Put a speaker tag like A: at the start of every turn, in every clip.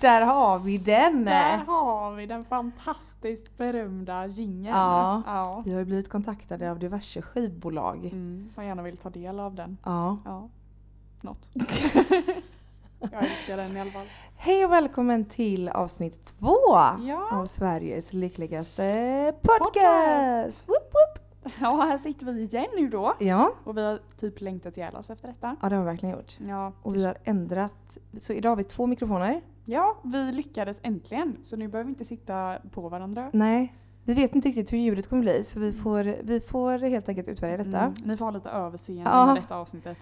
A: Där har vi den!
B: Där har vi den fantastiskt berömda jingeln.
A: Ja.
B: ja.
A: Vi har ju blivit kontaktade av diverse skivbolag.
B: Mm, som gärna vill ta del av den.
A: Ja.
B: Ja. Något. Jag älskar den i alla fall.
A: Hej och välkommen till avsnitt två
B: Ja.
A: av Sveriges lyckligaste podcast!
B: Podcast.
A: Woop, woop.
B: ja, här sitter vi igen nu då.
A: Ja.
B: Och vi har typ längtat ihjäl oss efter detta.
A: ja, det har vi verkligen gjort.
B: Ja.
A: Och vi har ändrat, så idag har vi två mikrofoner.
B: ja, vi lyckades äntligen. Så nu behöver vi inte sitta på varandra.
A: Nej, Mm. vi vet inte riktigt hur ljudet kommer bli så vi får, vi får helt enkelt utvärdera detta.
B: Mm, ni får ha lite överseende
A: Ja.
B: med detta avsnittet.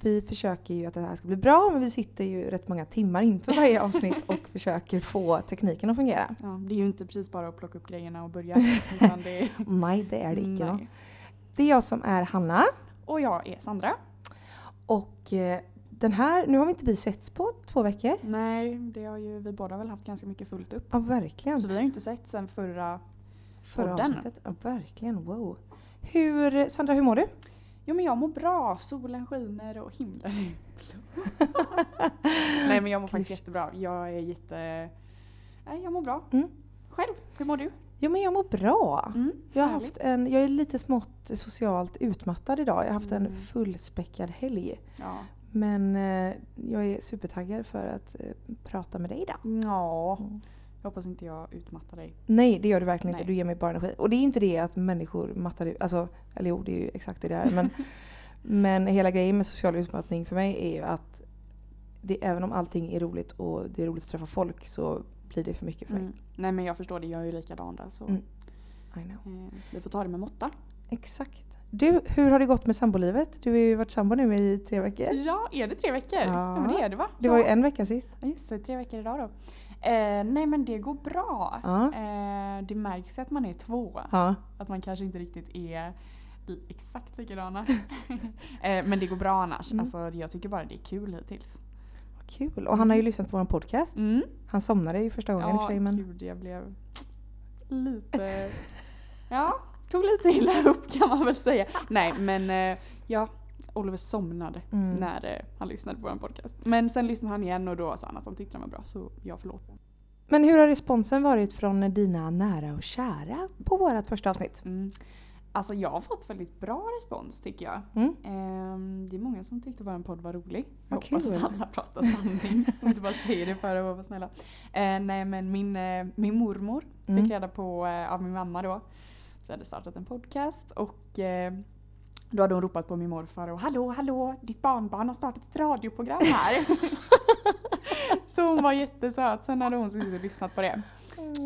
A: Vi försöker ju att det här ska bli bra men vi sitter ju rätt många timmar inför varje avsnitt och försöker få tekniken att fungera.
B: Ja, det är ju inte precis bara att plocka upp grejerna och börja. Utan det är...
A: Nej, det är det icke. då.
B: Nej.
A: Det är jag som är Hanna
B: Och jag är Sandra.
A: och eh, den här, nu har vi inte vi setts på två veckor.
B: Nej, det har ju vi båda väl haft ganska mycket fullt upp.
A: Ja, verkligen.
B: Så vi har ju inte sett sen förra...
A: Förra
B: podden.
A: avsnittet. Ja, verkligen. Wow. Hur, Sandra, hur mår du?
B: Jo men jag mår bra, solen skiner och himlen är blå. Nej men jag mår faktiskt
A: Klysch.
B: jättebra. Jag är jätte... Nej, jag mår bra.
A: Mm.
B: Själv, hur mår du?
A: Jo, men jag mår bra.
B: Mm,
A: Jag, har
B: härligt.
A: haft en, jag är lite smått socialt utmattad idag. Jag har haft en
B: Mm.
A: fullspäckad helg.
B: Ja.
A: Men eh, jag är supertaggad för att eh, prata med dig idag.
B: ja.
A: Mm.
B: Jag hoppas inte jag utmattar dig.
A: Nej, det gör du verkligen
B: Nej.
A: inte. Du ger mig bara energi. Och det är inte det att människor mattar ut. Alltså, eller jo, det är ju exakt det det är. Men, men hela grejen med social utmattning för mig är ju att det, även om allting är roligt och det är roligt att träffa folk så blir det för mycket för mig.
B: Mm. Nej men jag förstår det, jag är ju likadan där så.
A: Mm. I know.
B: eh, Vi får ta det med måtta.
A: Exakt. Du, hur har det gått med sambolivet? Du har ju varit sambo nu i tre veckor.
B: Ja, är det tre veckor?
A: Ja.
B: Ja men det är det va?
A: Det var ju
B: Ja.
A: en vecka sist.
B: Ja just det, tre veckor idag då. Eh, nej men det går bra.
A: Ja.
B: Eh, det märks att man är två.
A: Ja.
B: Att man kanske inte riktigt är li- exakt likadana. eh, men det går bra annars.
A: Mm.
B: Alltså, jag tycker bara det är kul hittills.
A: Vad kul. Och han har ju lyssnat på vår podcast.
B: Mm.
A: Han somnade ju första gången i och för
B: Ja
A: sig, men...
B: gud jag blev lite... Ja, tog lite illa upp kan man väl säga. Nej men eh, ja, Oliver somnade
A: Mm.
B: när eh, han lyssnade på vår podcast. Men sen lyssnade han igen och då sa han att han tyckte den var bra så jag förlåter.
A: Men hur har responsen varit från dina nära och kära på vårt första avsnitt?
B: Mm. Alltså jag har fått väldigt bra respons tycker jag.
A: Mm.
B: Ehm, det är många som tyckte vår podd var rolig. Jag
A: Vad
B: hoppas
A: kul.
B: att alla pratar sanning och inte bara säger det för att vara snälla. Eh, nej men min, eh, min mormor
A: Mm.
B: fick reda på eh, av min mamma då. Vi hade startat en podcast och eh, då hade hon ropat på min morfar och hallå hallå ditt barnbarn har startat ett radioprogram här. så hon var jättesöt. Sen hade hon suttit och lyssnat på det.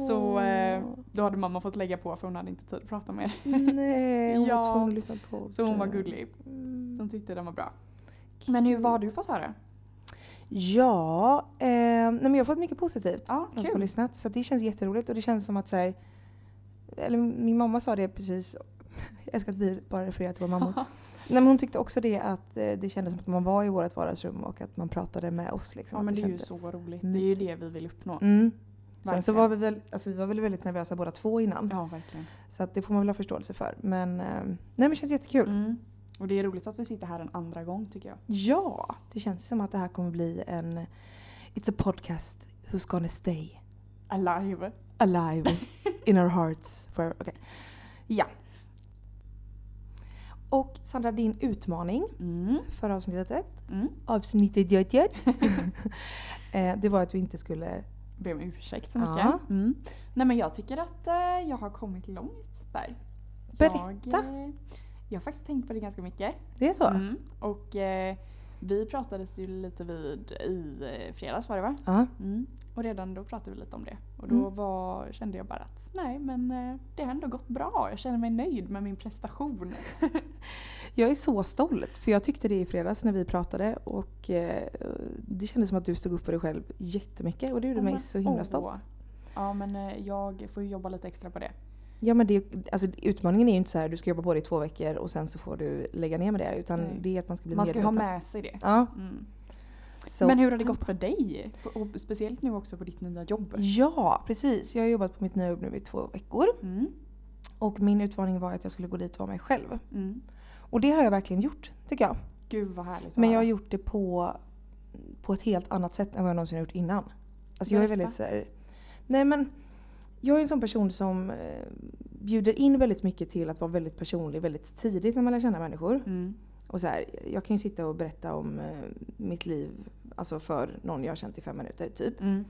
B: Så eh, då hade mamma fått lägga på för hon hade inte tid att prata mer.
A: Nej, hon var
B: Ja.
A: tvungen att lyssna på
B: Så hon var
A: det.
B: gullig.
A: Mm.
B: De tyckte den var bra. Men hur, vad har du fått höra?
A: Ja, eh, nej men jag har fått mycket positivt.
B: Ja,
A: de som har lyssnat. Så det känns jätteroligt och det känns som att så här, eller min mamma sa det precis, jag älskar att vi bara refererar till vår mamma. Nej, men hon tyckte också det att eh, det kändes som att man var i vårt vardagsrum och att man pratade med oss. Liksom,
B: Ja
A: att
B: men det är ju
A: kändes-
B: så roligt. Det är ju
A: mysigt.
B: det vi vill uppnå.
A: Mm. Sen så
B: Verkligen.
A: var vi väl, alltså vi var väl väldigt nervösa båda två innan.
B: Ja verkligen.
A: Så att det får man väl ha förståelse för. Men, eh, nej, men det känns jättekul.
B: Mm. Och det är roligt att vi sitter här en andra gång tycker jag.
A: Ja, det känns som att det här kommer bli en It's a podcast who's gonna stay
B: Alive.
A: alive in our hearts forever. Okej. Ja. Och Sandra, din utmaning
B: Mm.
A: för avsnittet,
B: Mm.
A: avsnittet jöt, jöt, eh, det var att du inte skulle...
B: Be om ursäkt så
A: Ja.
B: mycket. Mm. Nej men jag tycker att eh, jag har kommit långt där.
A: Berätta.
B: Jag, eh, jag har faktiskt tänkt på det ganska mycket.
A: Det är så?
B: Mm. Och eh, vi pratades ju lite vid i eh, fredags var det va?
A: Ja.
B: Mm. Och redan då pratade vi lite om det. Och då
A: Mm.
B: var, kände jag bara att nej men eh, det har ändå gått bra. Jag känner mig nöjd med min prestation.
A: Jag är så stolt, för jag tyckte det i fredags när vi pratade och eh, det kändes som att du stod upp för dig själv jättemycket och det gjorde mig så himla stolt.
B: Åh. Ja men eh, jag får ju jobba lite extra på det.
A: Ja men det, alltså, utmaningen är ju inte så här du ska jobba på det i två veckor och sen så får du lägga ner med det utan
B: Nej.
A: det är att man ska bli
B: Man ska ju ha
A: medveten.
B: med sig det.
A: Ja,
B: Mm.
A: så.
B: Men hur har det gått för dig? Och speciellt nu också på ditt nya jobb.
A: Ja, precis. Jag har jobbat på mitt nya jobb nu i två veckor.
B: Mm.
A: Och min utmaning var att jag skulle gå dit och vara mig själv.
B: Mm.
A: Och det har jag verkligen gjort, tycker jag.
B: Gud vad härligt att
A: Men jag
B: höra.
A: har gjort det på, på ett helt annat sätt än vad jag någonsin har gjort innan. Alltså jag är
B: Berätta.
A: väldigt så här, Nej men jag är en sån person som eh, bjuder in väldigt mycket till att vara väldigt personlig väldigt tidigt när man lär känna människor.
B: Mm.
A: Och så här, jag kan ju sitta och berätta om eh, mitt liv alltså för någon jag har känt i fem minuter typ.
B: Mm.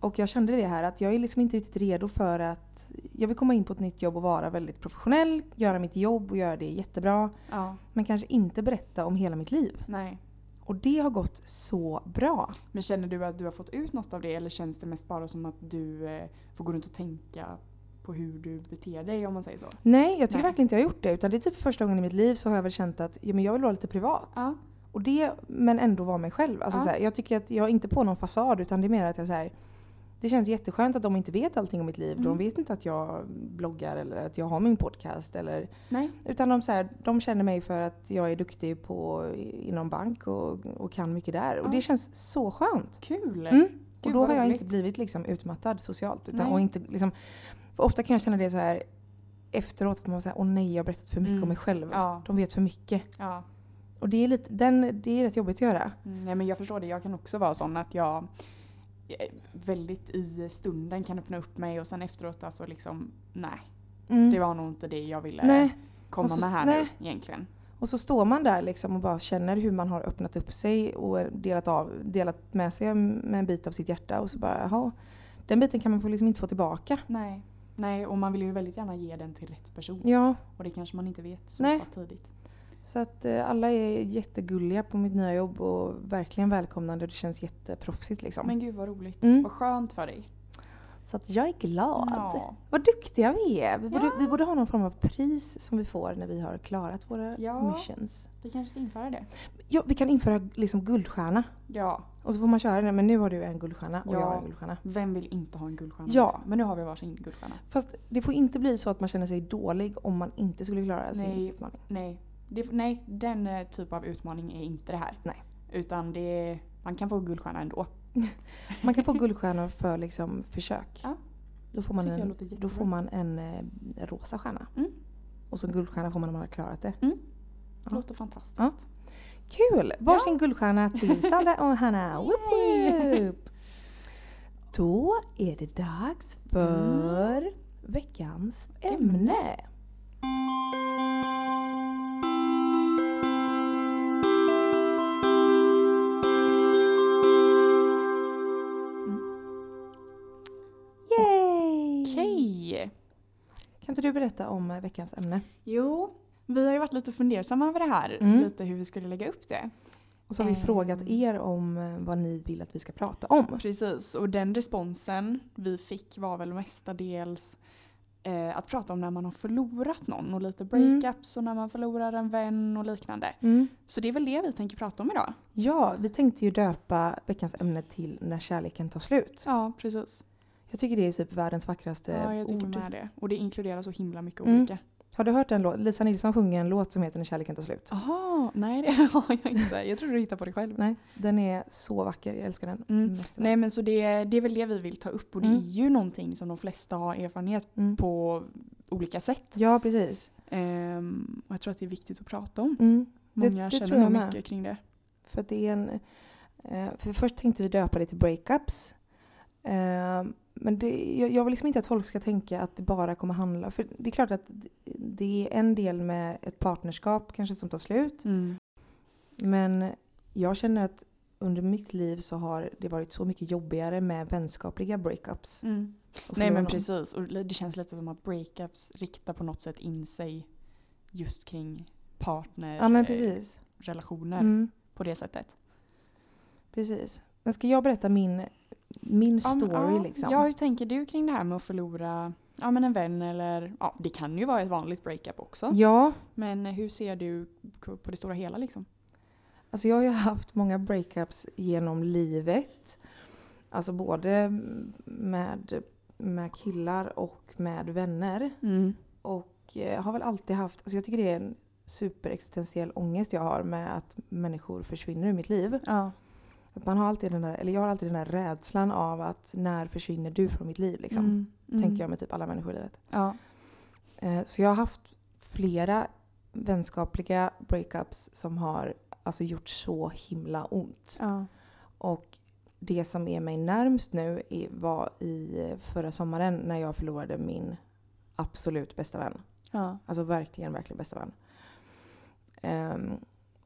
A: Och jag kände det här att jag är liksom inte riktigt redo för att jag vill komma in på ett nytt jobb och vara väldigt professionell, göra mitt jobb och göra det jättebra.
B: Ja,
A: Men kanske inte berätta om hela mitt liv.
B: nej.
A: Och det har gått så bra.
B: Men känner du att du har fått ut något av det eller känns det mest bara som att du eh, får gå runt och tänka på hur du beter dig om man säger så?
A: Nej, jag
B: Nej.
A: tycker verkligen inte jag har gjort det. Utan det är typ första gången i mitt liv så har jag väl känt att ja, men jag vill vara lite privat.
B: Ja.
A: Och det, men ändå vara mig själv. Alltså,
B: Ja.
A: så här, jag tycker att jag är inte på någon fasad utan det är mer att jag så här, det känns jätteskönt att de inte vet allting om mitt liv.
B: Mm.
A: De vet inte att jag bloggar eller att jag har min podcast. Eller,
B: Nej.
A: utan de, så här, de känner mig för att jag är duktig på, inom bank och, och kan mycket där. Och
B: Ja.
A: det känns så skönt.
B: Kul!
A: Mm.
B: Gud,
A: och då
B: vad
A: har jag
B: roligt.
A: inte blivit liksom utmattad socialt. Utan,
B: Nej.
A: och inte, liksom, för ofta kan jag känna det så här efteråt att man säger åh nej jag har berättat för mycket
B: Mm.
A: om mig själv.
B: Ja.
A: De vet för mycket.
B: ja.
A: Och det är, lite, den, det är rätt jobbigt att göra.
B: Mm, Nej men jag förstår det, jag kan också vara sån att jag eh, väldigt i stunden kan öppna upp mig och sen efteråt alltså liksom nej,
A: Mm.
B: det var nog inte det jag ville
A: nej.
B: komma
A: Och så-
B: med här
A: nej.
B: nu egentligen.
A: Och så står man där liksom och bara känner hur man har öppnat upp sig och delat, av, delat med sig med en bit av sitt hjärta och så bara jaha. Den biten kan man få liksom inte få tillbaka.
B: Nej. Nej, och man vill ju väldigt gärna ge den till rätt person
A: Ja,
B: och det kanske man inte vet så
A: Nej.
B: pass tidigt.
A: så att eh, alla är jättegulliga på mitt nya jobb och verkligen välkomnande. Det känns jätteproffsigt liksom.
B: Men gud vad roligt,
A: Mm.
B: vad skönt för dig.
A: Så att jag är glad.
B: Ja.
A: Vad duktiga vi är. Vi,
B: Ja.
A: borde, vi borde ha någon form av pris som vi får när vi har klarat våra
B: Ja.
A: missions.
B: Vi kanske ska införa det.
A: Ja, vi kan införa liksom guldstjärna.
B: Ja,
A: Och så får man köra den. Men nu har du en guldstjärna och
B: Ja.
A: jag har en guldstjärna.
B: vem vill inte ha en guldstjärna?
A: Ja.
B: liksom? Men nu har vi varsin guldstjärna.
A: Fast det får inte bli så att man känner sig dålig om man inte skulle klara sin
B: Nej.
A: utmaning.
B: Nej, det, nej den eh, typ av utmaning är inte det här.
A: Nej.
B: Utan det, man kan få guldstjärna ändå.
A: Man kan få guldstjärna för liksom försök.
B: Ja.
A: Då får man,
B: Tycker jag
A: en,
B: låter jättebra.
A: då får man en eh, rosa stjärna.
B: Mm.
A: Och så en guldstjärna får man om man har klarat det.
B: Mm.
A: Ja.
B: Låter fantastiskt.
A: Ja. Kul! Varsin guldstjärna till Sandra och Hanna. Woop,
B: Yay!
A: woop. Då är det dags för veckans ämne. Mm. Yay!
B: Okej.
A: Kan inte du berätta om eh, veckans ämne?
B: Jo, vi har ju varit lite fundersamma över det här.
A: Mm.
B: Lite hur vi skulle lägga upp det.
A: Och så har vi
B: Ehm.
A: frågat er om eh, vad ni vill att vi ska prata om.
B: Precis, och den responsen vi fick var väl mestadels eh, att prata om när man har förlorat någon och lite
A: Mm.
B: breakups och när man förlorar en vän och liknande. Så det är väl det vi tänker prata om idag.
A: Ja, vi tänkte ju döpa veckans ämne till När kärleken tar slut.
B: Ja, precis.
A: Jag tycker det är typ världens vackraste
B: Ja, jag tycker
A: ord.
B: med det. Och det inkluderar så himla mycket
A: Mm.
B: olika.
A: Har du hört en låt? Lisa Nilsson sjunger en låt som heter När kärleken tar slut.
B: Jaha, nej det har jag inte. Jag tror du hittar på det själv.
A: Nej, den är så vacker. Jag älskar den.
B: Mm.
A: Mest av
B: Nej men så det, det är väl det vi vill ta upp och det
A: Mm.
B: är ju någonting som de flesta har erfarenhet
A: allt. Mm.
B: på olika sätt.
A: Ja, precis.
B: Ehm, och jag tror att det är viktigt att prata om.
A: Mm. Det-
B: Många
A: det tror
B: känner nog
A: jag med.
B: mycket kring det.
A: För att det är en... eh, För först tänkte vi döpa det till breakups. Eh, Men det, jag, jag vill liksom inte att folk ska tänka att det bara kommer handla... För det är klart att det är en del med ett partnerskap kanske som tar slut. Men jag känner att under mitt liv så har det varit så mycket jobbigare med vänskapliga breakups.
B: Mm.
A: och
B: Nej men
A: förlorade-
B: precis, och li- det känns lite som att breakups riktar på något sätt in sig just kring
A: Ja men
B: partnerrelationer
A: precis.
B: mm.
A: Mm.
B: på det sättet.
A: Precis. Men ska jag berätta min, min
B: Ja, men,
A: story
B: ja,
A: liksom?
B: Ja, hur tänker du kring det här med att förlora ja, men en vän eller ja, det kan ju vara ett vanligt breakup också.
A: Ja,
B: Men hur ser du k- på det stora hela liksom?
A: alltså jag har ju haft många breakups genom livet. Alltså både med, med killar och med vänner. Och eh, har väl alltid haft, alltså jag tycker det är en superexistentiell ångest jag har med att människor försvinner ur mitt liv.
B: Ja.
A: Att man har alltid den där, eller jag har alltid den där rädslan av att när försvinner du från mitt liv liksom.
B: Mm.
A: Tänker jag med typ alla människor i livet.
B: Ja.
A: Eh, Så jag har haft flera vänskapliga breakups som har alltså gjort så himla ont.
B: ja.
A: Och det som är mig närmst nu är, var i förra sommaren när jag förlorade min absolut bästa vän.
B: Ja.
A: Alltså verkligen, verkligen bästa vän. Ehm,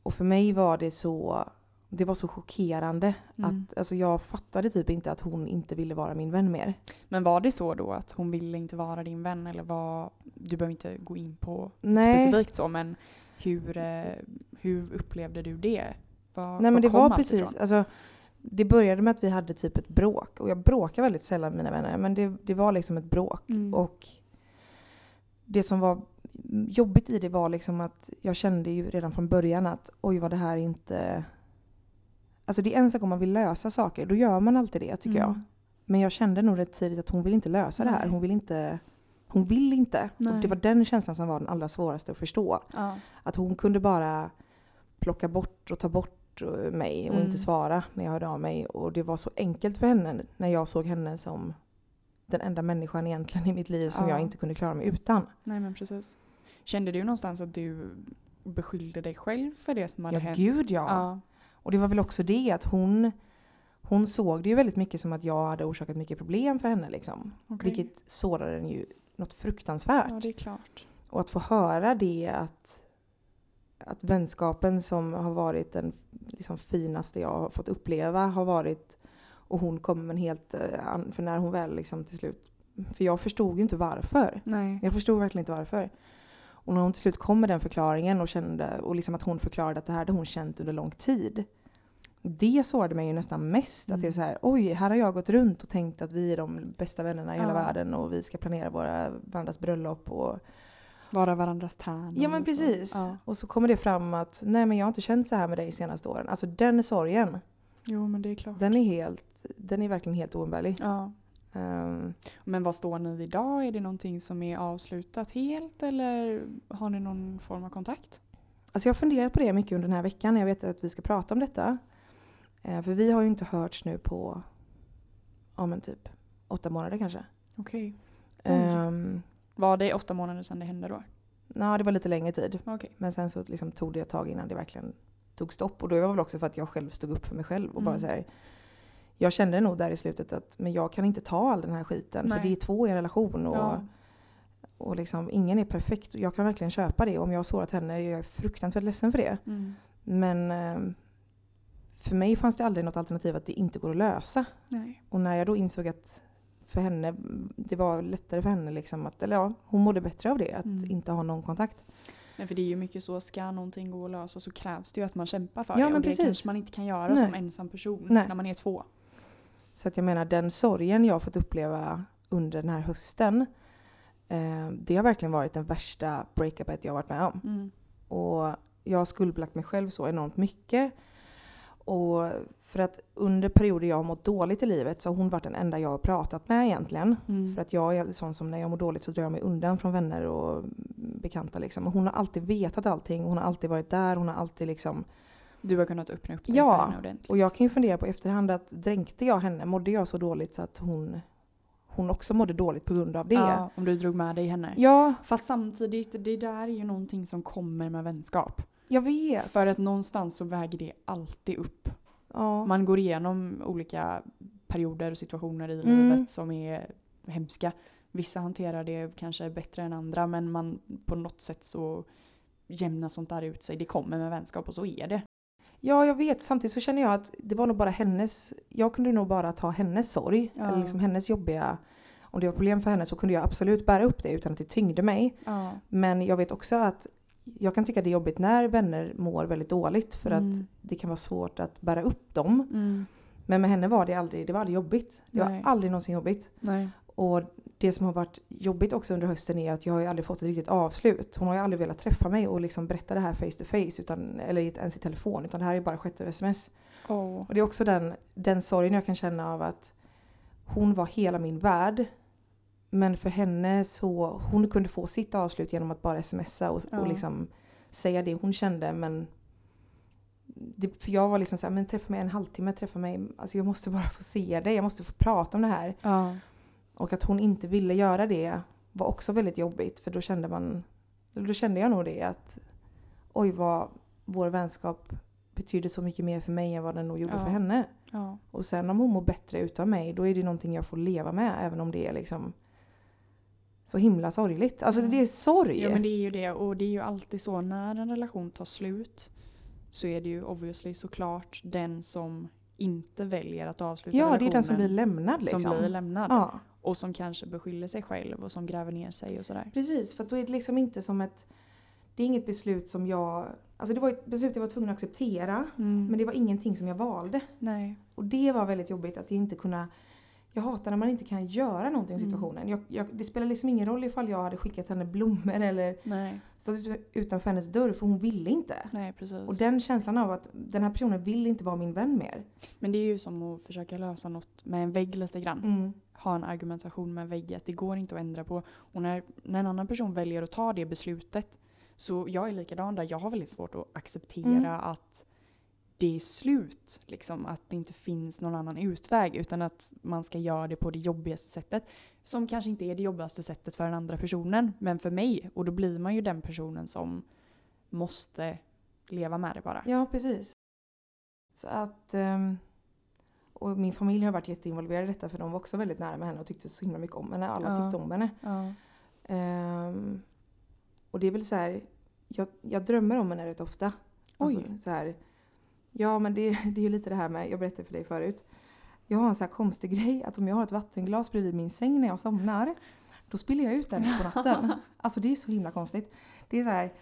A: och för mig var det så, det var så chockerande.
B: Mm.
A: Att, alltså jag fattade typ inte att hon inte ville vara min vän mer.
B: Men var det så då att hon ville inte vara din vän eller var, du behöver inte gå in på
A: Nej.
B: specifikt så men hur, eh, hur upplevde du det? Var,
A: Nej men det
B: kom
A: var
B: allt
A: precis,
B: ifrån?
A: alltså, det började med att vi hade typ ett bråk. Och jag bråkar väldigt sällan med mina vänner men det, det var liksom ett bråk.
B: Mm.
A: Och det som var jobbigt i det var liksom att jag kände ju redan från början att oj vad det här inte... Alltså det är en sak om man vill lösa saker, då gör man alltid det tycker jag.
B: Mm.
A: Men jag kände nog rätt tidigt att hon vill inte lösa det här.
B: Nej.
A: Hon vill inte. Hon vill inte. Och
B: Nej.
A: det var den känslan som var den allra svåraste att förstå.
B: Ja.
A: Att hon kunde bara plocka bort och ta bort eh, mig och
B: Mm.
A: inte svara när jag hörde av mig. Och det var så enkelt för henne när jag såg henne som den enda människan egentligen i mitt liv som
B: Ja.
A: jag inte kunde klara mig utan.
B: Nej men precis. Kände du någonstans att du beskyllde dig själv för det som hade
A: Ja,
B: hänt?
A: gud ja.
B: Ja.
A: Och det var väl också det att hon, hon såg det ju väldigt mycket som att jag hade orsakat mycket problem för henne. Liksom.
B: okej.
A: Vilket sårade den ju något fruktansvärt.
B: Ja det är klart.
A: Och att få höra det att, att vänskapen som har varit den liksom, finaste jag har fått uppleva har varit och hon kommer med en helt, eh, an- för när hon väl liksom till slut, för jag förstod ju inte varför.
B: Nej.
A: Jag förstod verkligen inte varför. Och när hon till slut kom med den förklaringen och kände, och liksom att hon förklarade att det här hade hon känt under lång tid. Det sårade mig ju nästan mest. Att det är så här, oj, här har jag gått runt och tänkt att vi är de bästa vännerna i hela
B: Ja.
A: världen och vi ska planera våra, varandras bröllop och
B: Vara varandras tärn.
A: Ja men precis.
B: Ja.
A: Och så kommer det fram att nej men jag har inte känt så här med dig de senaste åren. Alltså den sorgen,
B: Jo men det är klart.
A: den är helt, den är verkligen helt oumbärlig.
B: Ja.
A: Ehm,
B: Men vad står ni idag? Är det någonting som är avslutat helt eller har ni någon form av kontakt?
A: alltså jag har funderat på det mycket under den här veckan. Jag vet att vi ska prata om detta. Eh, för vi har ju inte hörts nu på, ja men typ åtta månader kanske.
B: Okej. Oj.
A: Um,
B: Var det åtta månader sedan det hände då?
A: ja det var lite längre tid.
B: Okej.
A: Men sen så liksom tog det ett tag innan det verkligen tog stopp. Och då var det väl också för att jag själv stod upp för mig själv. Och bara
B: Mm.
A: så här, jag kände nog där i slutet att men jag kan inte ta all den här skiten.
B: Nej.
A: För det är två i en relation. Och,
B: Ja.
A: och liksom, ingen är perfekt. Och jag kan verkligen köpa det. Om jag har sårat henne jag är fruktansvärt ledsen för det.
B: Mm.
A: Men eh, för mig fanns det aldrig något alternativ att det inte går att lösa.
B: Nej.
A: Och när jag då insåg att för henne, det var lättare för henne liksom att, eller ja, hon mådde bättre av det. Att
B: Mm.
A: inte ha någon kontakt.
B: Nej för det är ju mycket så, ska någonting gå att lösa så krävs det ju att man kämpar för
A: Ja,
B: det.
A: men
B: och
A: precis.
B: det kanske man inte kan göra
A: Nej.
B: som ensam person
A: Nej.
B: när man är två.
A: Så att jag menar den sorgen jag har fått uppleva under den här hösten. Eh, det har verkligen varit den värsta breakupet jag har varit med om.
B: Mm.
A: Och jag har skuldbelagt mig själv så enormt mycket. Och för att under perioder jag har mått dåligt i livet så har hon varit den enda jag har pratat med egentligen.
B: Mm.
A: För att jag är sån som när jag mår dåligt så drar jag mig undan från vänner och mm, bekanta liksom. Och hon har alltid vetat allting, hon har alltid varit där, hon har alltid liksom
B: Du har kunnat öppna upp dig
A: Ja,
B: för henne ordentligt.
A: och jag kan ju fundera på efterhand att dränkte jag henne? Mådde jag så dåligt så att hon, hon också mådde dåligt på grund av det?
B: Ja, om du drog med dig henne.
A: Ja,
B: Fast samtidigt, det där är ju någonting som kommer med vänskap.
A: jag vet.
B: För att någonstans så väger det alltid upp.
A: ja.
B: Man går igenom olika perioder och situationer i
A: Mm.
B: livet som är hemska. Vissa hanterar det kanske bättre än andra men man på något sätt så jämnar sånt där ut sig. Det kommer med vänskap och så är det.
A: ja, jag vet. Samtidigt så känner jag att det var nog bara hennes, jag kunde nog bara ta hennes sorg.
B: Ja.
A: Eller liksom hennes jobbiga, om det var problem för henne så kunde jag absolut bära upp det utan att det tyngde mig.
B: Ja.
A: Men jag vet också att jag kan tycka det är jobbigt när vänner mår väldigt dåligt för att
B: Mm.
A: det kan vara svårt att bära upp dem. Men med henne var det aldrig, det var aldrig jobbigt. Det var
B: Nej.
A: aldrig någonsin jobbigt.
B: Nej.
A: Och det som har varit jobbigt också under hösten är att jag har ju aldrig fått ett riktigt avslut. Hon har ju aldrig velat träffa mig och liksom berätta det här face to face, utan, eller ens i telefon, utan det här är ju bara skett över sms.
B: Åh.
A: Och det är också den, den sorgen jag kan känna av att hon var hela min värld. Men för henne så, hon kunde få sitt avslut genom att bara smsa och,
B: Ja.
A: och liksom säga det hon kände men det, för jag var liksom såhär, men träffa mig en halvtimme, träffa mig, alltså jag måste bara få se dig, jag måste få prata om det här.
B: Ja.
A: Och att hon inte ville göra det var också väldigt jobbigt för då kände man, eller då kände jag nog det att oj vad vår vänskap betyder så mycket mer för mig än vad den nog gjorde
C: Ja.
A: för henne.
B: Ja.
A: Och sen om hon mår bättre utan mig, då är det någonting jag får leva med även om det är liksom så himla sorgligt. Alltså
B: Mm.
A: det är sorg.
B: ja men det är ju det och det är ju alltid så när en relation tar slut så är det ju obviously såklart den som inte väljer att avsluta
A: Ja, det är
B: relationen
A: den som blir lämnad liksom.
B: som blir lämnad.
A: ja.
B: Och som kanske beskyller sig själv och som gräver ner sig och sådär.
A: Precis, för att då är det liksom inte som ett... Det är inget beslut som jag... Alltså det var ett beslut jag var tvungen att acceptera. Men det var ingenting som jag valde.
B: Nej.
A: Och det var väldigt jobbigt att inte kunna... Jag hatar när man inte kan göra någonting i
B: Mm.
A: situationen. Jag, jag, det spelar liksom ingen roll ifall jag hade skickat henne blommor eller
B: Nej.
A: stått ut- utanför hennes dörr för hon ville inte.
B: Nej precis.
A: Och den känslan av att den här personen vill inte vara min vän mer.
B: Men det är ju som att försöka lösa något med en vägg lite grann.
A: Mm.
B: Ha en argumentation med en vägg att det går inte att ändra på. Och när, när en annan person väljer att ta det beslutet så jag är likadan där. Jag har väldigt svårt att acceptera
A: Mm.
B: att det är slut. Liksom, att det inte finns någon annan utväg utan att man ska göra det på det jobbigaste sättet. Som kanske inte är det jobbigaste sättet för den andra personen men för mig. Och då blir man ju den personen som måste leva med det bara.
A: Ja, precis. Så att... ehm, och min familj har varit jätteinvolverad i detta för de var också väldigt nära med henne och tyckte så himla mycket om henne. Alla
B: Ja.
A: tyckte om henne.
B: Ja.
A: Ehm, och det är väl så här, jag, jag drömmer om henne rätt ofta. Alltså,
B: Oj.
A: så här, ja men det, det är ju lite det här med, jag berättade för dig förut. Jag har en så här konstig grej att om jag har ett vattenglas bredvid min säng när jag somnar, då spiller jag ut den på natten. alltså det är så himla konstigt. Det är så här,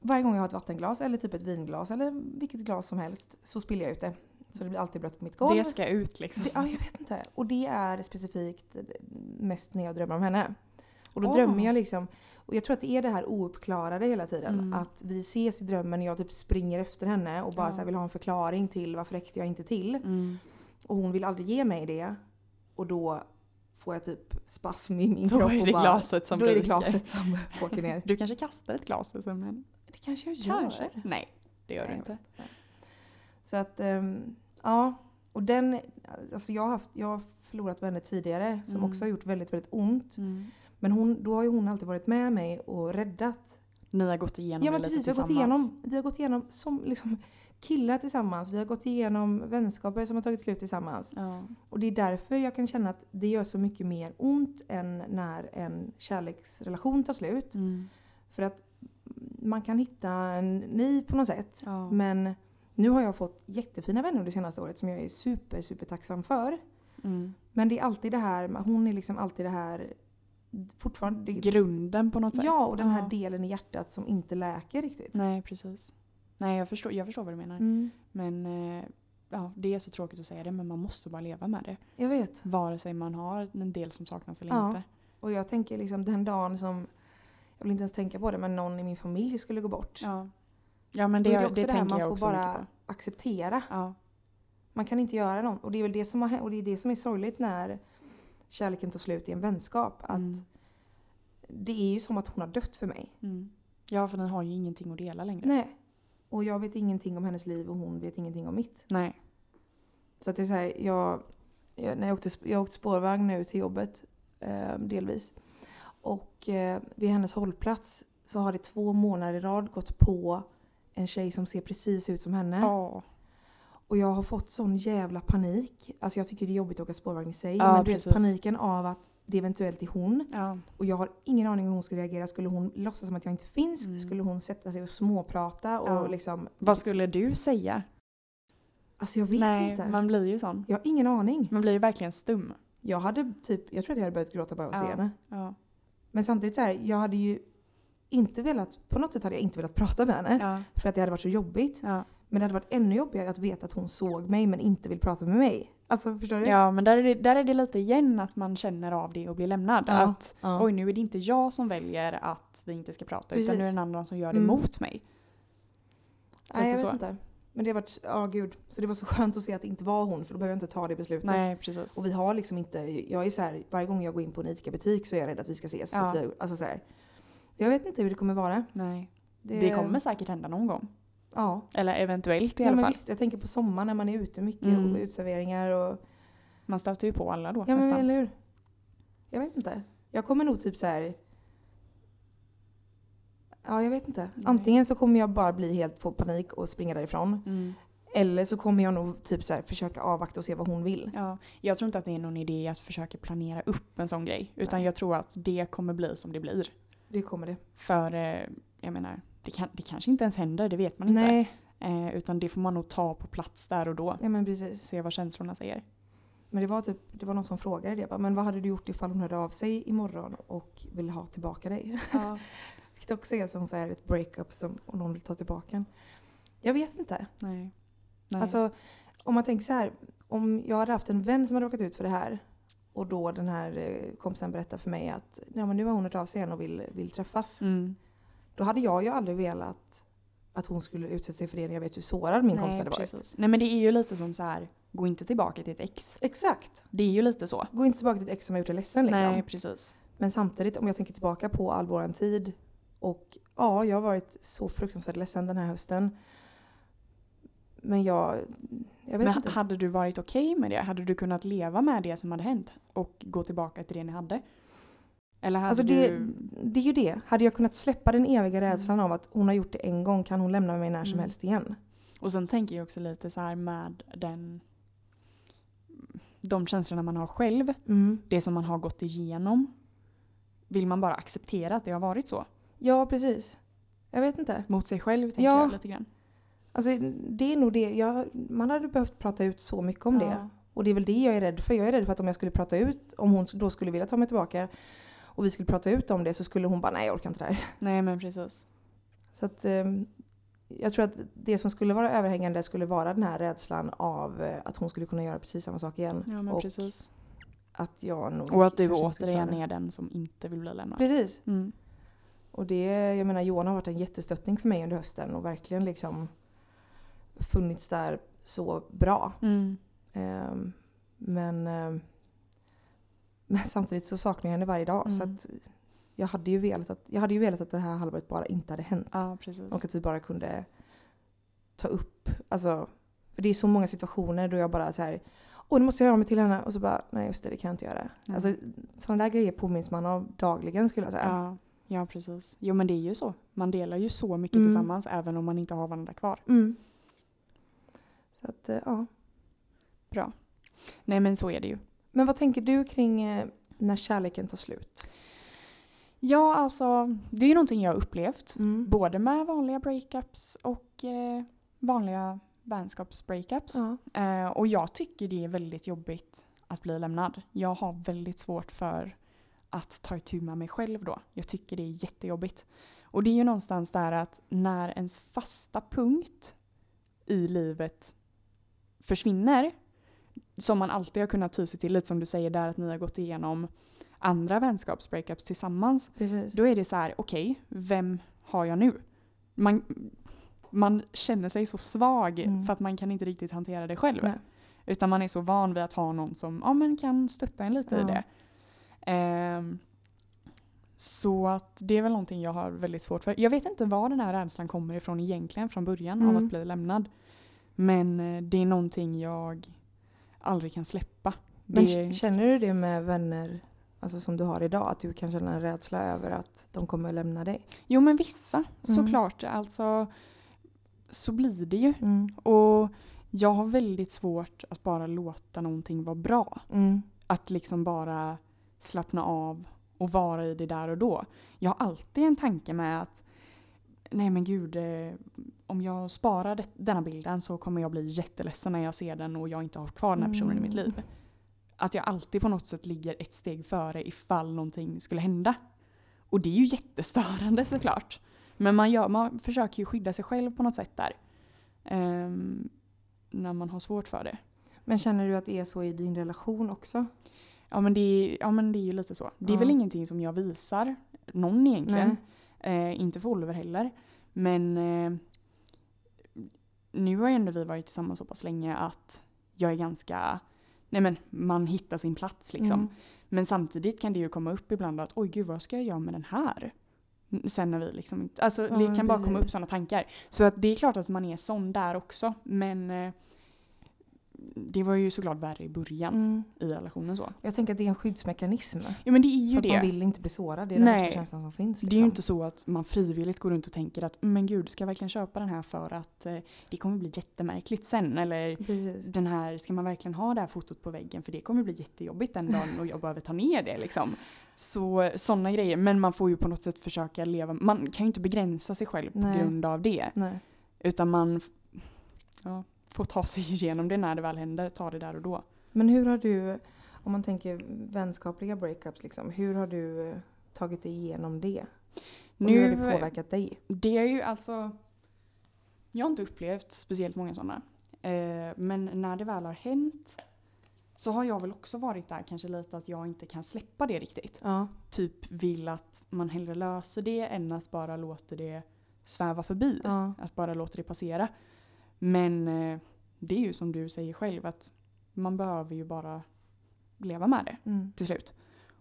A: varje gång jag har ett vattenglas eller typ ett vinglas eller vilket glas som helst så spiller jag ut det. Så det blir alltid blött på mitt golv.
B: Det ska ut liksom.
A: Det, ja, jag vet inte. Och det är specifikt mest när jag drömmer om henne. Och då
B: Ah.
A: drömmer jag liksom, och jag tror att det är det här ouppklarade hela tiden.
B: Mm.
A: Att vi ses i drömmen och jag typ springer efter henne och bara
B: Ja.
A: så här vill ha en förklaring till varför räckte jag inte till.
B: Mm.
A: Och hon vill aldrig ge mig det. Och då får jag typ spasm i min
B: Så
A: kropp.
B: är
A: och
B: det
A: bara,
B: glaset som
A: Då är det
B: ryker.
A: glaset som åker ner.
B: Du kanske kastar ett glas i sömnen?
A: Det kanske jag gör.
B: Kanske. Nej, det gör
A: Nej,
B: du
A: jag
B: inte.
A: vet Så att, ehm, ja. Och den, alltså jag har, haft, jag har förlorat vänner tidigare som
B: Mm.
A: också har gjort väldigt, väldigt ont. Men hon, då har ju hon alltid varit med mig och räddat.
B: Ni har gått igenom
A: Ja men
B: det
A: precis,
B: lite
A: vi har, gått
B: tillsammans.
A: igenom, vi har gått igenom som liksom killar tillsammans. Vi har gått igenom vänskaper som har tagit slut tillsammans.
B: Ja.
A: Och det är därför jag kan känna att det gör så mycket mer ont än när en kärleksrelation tar slut.
B: Mm.
A: För att man kan hitta en ny på något sätt.
B: Ja.
A: Men nu har jag fått jättefina vänner det senaste året som jag är super, super tacksam för.
B: Mm.
A: Men det är alltid det här, med- hon är liksom alltid det här fortfarande. Det,
B: Grunden på något sätt.
A: ja, och den här
B: Ja.
A: delen i hjärtat som inte läker riktigt.
B: Nej, precis. Nej, jag förstår, jag förstår vad du menar.
A: Mm.
B: Men eh, ja, det är så tråkigt att säga det, men man måste bara leva med det.
A: Jag vet.
B: Vare sig man har en del som saknas eller
A: Ja.
B: inte.
A: Och jag tänker liksom den dagen som, jag vill inte ens tänka på det, men någon i min familj skulle gå bort.
B: Ja. ja, men
A: Då
B: det,
A: är
B: det,
A: också här,
B: tänker
A: man
B: jag
A: får
B: också mycket
A: bara
B: på.
A: acceptera.
B: Ja.
A: Man kan inte göra något. Och det är väl det som, har, hänt- och det, är det som är sorgligt när kärleken tar slut i en vänskap. Att
B: Mm.
A: Det är ju som att hon har dött för mig.
B: Mm. ja, för den har ju ingenting att dela längre.
A: Nej. Och jag vet ingenting om hennes liv och hon vet ingenting om mitt.
B: Nej.
A: Så att det är så här, jag, jag, när jag, åkte, sp- jag åkte spårvagn nu till jobbet eh, delvis. Och eh, vid hennes hållplats så har det två månader i rad gått på en tjej som ser precis ut som henne.
B: Ja.
A: Och jag har fått sån jävla panik. Alltså jag tycker det är jobbigt att åka spårvagn i sig.
B: Ja,
A: men du vet
B: precis.
A: paniken av att det eventuellt är hon.
B: Ja.
A: Och jag har ingen aning om hur hon skulle reagera. Skulle hon låtsas som att jag inte finns?
B: Mm.
A: Skulle hon sätta sig och småprata? Och
B: Ja.
A: liksom,
B: Vad skulle du säga?
A: alltså jag vet
B: Nej,
A: inte.
B: man blir ju sån.
A: Jag har ingen aning.
B: Man blir ju verkligen stum.
A: Jag hade typ, jag tror att jag hade börjat gråta bara av att
B: Ja.
A: se henne.
B: Ja.
A: Men samtidigt så här, jag hade ju inte velat, på något sätt hade jag inte velat prata med henne.
B: Ja.
A: För att det hade varit så jobbigt.
B: Ja.
A: Men det hade varit ännu jobbigare att veta att hon såg mig men inte vill prata med mig. Alltså förstår du?
B: ja, men där är, det, där är det lite igen att man känner av det och blir lämnad.
A: Ja.
B: Att
A: Ja.
B: oj, nu är det inte jag som väljer att vi inte ska prata utan
A: Precis.
B: nu är det en annan som gör det
A: Mm.
B: mot mig.
A: Nej, jag
B: lite
A: vet
B: så.
A: inte. Men det har varit, ja gud. Så det var så skönt att se att det inte var hon för då behöver jag inte ta det beslutet.
B: Nej, precis.
A: Och vi har liksom inte, jag är så här, varje gång jag går in på en ICA-butik så är jag rädd att vi ska ses. för
B: Ja.
A: Att vi, har- alltså så här. Jag vet inte hur det kommer vara.
B: Nej. Det... kommer säkert hända någon gång.
A: Ja,
B: Eller eventuellt i
A: ja
B: alla
A: men
B: fall.
A: visst. Jag tänker på sommaren när man är ute mycket
B: Mm.
A: och utserveringar och
B: Man stöter ju på alla då
A: Ja men
B: nästan.
A: eller hur? Jag vet inte. Jag kommer nog typ så här. Ja Ja, jag vet inte.
B: Nej.
A: Antingen så kommer jag bara bli helt på panik och springa därifrån.
B: Mm.
A: Eller så kommer jag nog typ så här, försöka avvakta och se vad hon vill.
B: Ja, jag tror inte att det är någon idé att försöka planera upp en sån grej. Utan
A: Nej.
B: jag tror att det kommer bli som det blir.
A: Det kommer det.
B: För eh, jag menar, det, kan, det kanske inte ens händer, det vet man inte.
A: Nej,
B: Eh, utan det får man nog ta på plats där och då.
A: ja, men precis.
B: Se vad känslorna säger.
A: Men det var, typ, det var någon som frågade det. bara, Men vad hade du gjort ifall hon hörde av sig imorgon och vill ha tillbaka dig?
B: Ja.
A: Vilket också är som så här ett breakup som om någon vill ta tillbaka en. Jag vet inte.
B: Nej. Nej.
A: Alltså om man tänker så här. Om jag hade haft en vän som hade råkat ut för det här och då den här eh, kompisen berättar för mig att Nej, men nu har hon hört av sig igen och vill, vill träffas.
B: mm.
A: Då hade jag ju aldrig velat att hon skulle utsätta sig för det när jag vet hur sårad min kompis
B: Nej,
A: hade varit.
B: precis. Nej men det är ju lite som så här, gå inte tillbaka till ett ex.
A: Exakt.
B: Det är ju lite så.
A: Gå inte tillbaka till ett ex som har gjort dig ledsen. Liksom.
B: Nej precis.
A: Men samtidigt om jag tänker tillbaka på all våran tid och ja, jag har varit så fruktansvärt ledsen den här hösten. Men jag, jag vet
B: Men
A: inte.
B: hade du varit okej med det? Hade du kunnat leva med det som hade hänt? Och gå tillbaka till det ni hade? Eller hade
A: Alltså det,
B: du...
A: det är ju det. Hade jag kunnat släppa den eviga rädslan av att hon har gjort det en gång kan hon lämna mig när som
B: Mm.
A: helst igen.
B: Och sen tänker jag också lite så här med den... De känslorna man har själv. Det som man har gått igenom. Vill man bara acceptera att det har varit så?
A: Ja, precis. Jag vet inte.
B: Mot sig själv tänker
A: Ja.
B: jag lite grann.
A: Alltså, det är nog det. Jag, man hade behövt prata ut så mycket om det.
B: Ja.
A: Och det är väl det jag är rädd för. Jag är rädd för att om jag skulle prata ut, om hon då skulle vilja ta mig tillbaka och vi skulle prata ut om det så skulle hon bara nej jag orkar inte det här.
B: Nej men precis.
A: Så att, ehm, jag tror att det som skulle vara överhängande skulle vara den här rädslan av eh, att hon skulle kunna göra precis samma sak igen.
B: Ja, men
A: och
B: precis.
A: att jag nog
B: Och att du
A: kanske inte skulle
B: återigen
A: klara det.
B: är den som inte vill bli lämnad.
A: Precis.
B: Mm.
A: Och det, jag menar Johan har varit en jättestöttning för mig under hösten och verkligen liksom funnits där så bra.
B: Mm.
A: Ehm, men, ehm, men samtidigt så saknar jag henne varje dag. Så
B: Mm.
A: att jag, hade ju velat att, jag hade ju velat att det här halvåret bara inte hade hänt.
B: Ja precis.
A: Och att vi bara kunde ta upp, alltså. För det är så många situationer då jag bara så här. Åh nu måste jag höra mig till henne. Och så bara, nej just det, det kan jag inte göra.
B: Nej.
A: Alltså sådana där grejer påminns man av dagligen skulle jag säga.
B: Ja, ja precis. Jo men det är ju så. Man delar ju så mycket
A: Mm.
B: tillsammans även om man inte har varandra kvar.
A: Mm. Så att, eh, ja.
B: Nej men så är det ju.
A: Men vad tänker du kring eh, när kärleken tar slut?
B: Ja alltså, det är ju någonting jag har upplevt.
A: Mm.
B: Både med vanliga breakups och eh, vanliga vänskapsbreakups.
A: Ja.
B: Eh, och jag tycker det är väldigt jobbigt att bli lämnad. Jag har väldigt svårt för att ta itu med mig själv då. Jag tycker det är jättejobbigt. Och det är ju någonstans där att när ens fasta punkt i livet försvinner, som man alltid har kunnat ty sig till, lite som du säger där att ni har gått igenom andra vänskapsbreakups tillsammans,
A: Precis.
B: då är det så här, okej, vem har jag nu? Man, man känner sig så svag
A: Mm.
B: för att man kan inte riktigt hantera det själv.
A: Nej.
B: Utan man är så van vid att ha någon som ja, men kan stötta en lite i
A: Ja.
B: det. Ehm, så att det är väl någonting jag har väldigt svårt för. Jag vet inte var den här rädslan kommer ifrån egentligen från början av
A: Mm.
B: att bli lämnad. Men eh, det är någonting jag aldrig kan släppa.
A: Men
B: det,
A: k- känner du det med vänner alltså, som du har idag? Att du kan känna en rädsla över att de kommer lämna dig?
B: Jo men vissa
A: Mm.
B: såklart. Alltså, så blir det ju.
A: Mm.
B: Och jag har väldigt svårt att bara låta någonting vara bra.
A: Mm.
B: Att liksom bara slappna av och vara i det där och då. Jag har alltid en tanke med att nej men gud, eh, om jag sparar det, denna bilden så kommer jag bli jätteledsen när jag ser den och jag inte har kvar den här personen i mitt
A: Mm.
B: liv. Att jag alltid på något sätt ligger ett steg före ifall någonting skulle hända. Och det är ju jättestörande såklart. Men man, gör, man försöker ju skydda sig själv på något sätt där. Ehm, när man har svårt för det.
A: Men känner du att det är så i din relation också?
B: Ja men, det är, ja men det är ju lite så. Det är
A: Ja.
B: väl ingenting som jag visar någon egentligen. Eh, inte för Oliver heller. Men eh, nu har ju ändå vi varit tillsammans så pass länge att jag är ganska, nej men man hittar sin plats liksom.
A: Mm.
B: Men samtidigt kan det ju komma upp ibland att oj gud vad ska jag göra med den här? N- Sen när vi liksom inte, alltså
A: Ja,
B: det
A: men
B: kan bara komma upp
A: precis.
B: sådana tankar. Så att det är klart att man är sån där också men eh, det var ju såklart värre i början
A: Mm.
B: i relationen så.
A: Jag tänker att det är en skyddsmekanism.
B: Ja men det är
A: För
B: ju
A: att man
B: det.
A: vill inte bli sårad. Det är den
B: Nej.
A: värsta känslan som finns. liksom.
B: Det är ju inte så att man frivilligt går runt och tänker att "Mm, men gud, ska jag verkligen köpa den här för att eh, det kommer bli jättemärkligt sen? Eller
A: Precis.
B: den här, ska man verkligen ha det här fotot på väggen? För det kommer bli jättejobbigt den dagen och jag behöver ta ner det liksom. Så sådana grejer. Men man får ju på något sätt försöka leva, man kan ju inte begränsa sig själv på
A: Nej.
B: grund av det.
A: Nej.
B: Utan man f- ja, får ta sig igenom det när det väl händer, ta det där och då.
A: Men hur har du, om man tänker vänskapliga breakups, liksom, hur har du eh, tagit dig igenom det? Och hur har det påverkat dig?
B: Det är ju alltså... Jag har inte upplevt speciellt många sådana. Eh, men när det väl har hänt så har jag väl också varit där kanske lite att jag inte kan släppa det riktigt.
A: Ja.
B: Typ vill att man hellre löser det än att bara låter det sväva förbi.
A: ja.
B: Att bara låta det passera. Men eh, det är ju som du säger själv att man behöver ju bara leva med det
A: Mm.
B: till slut.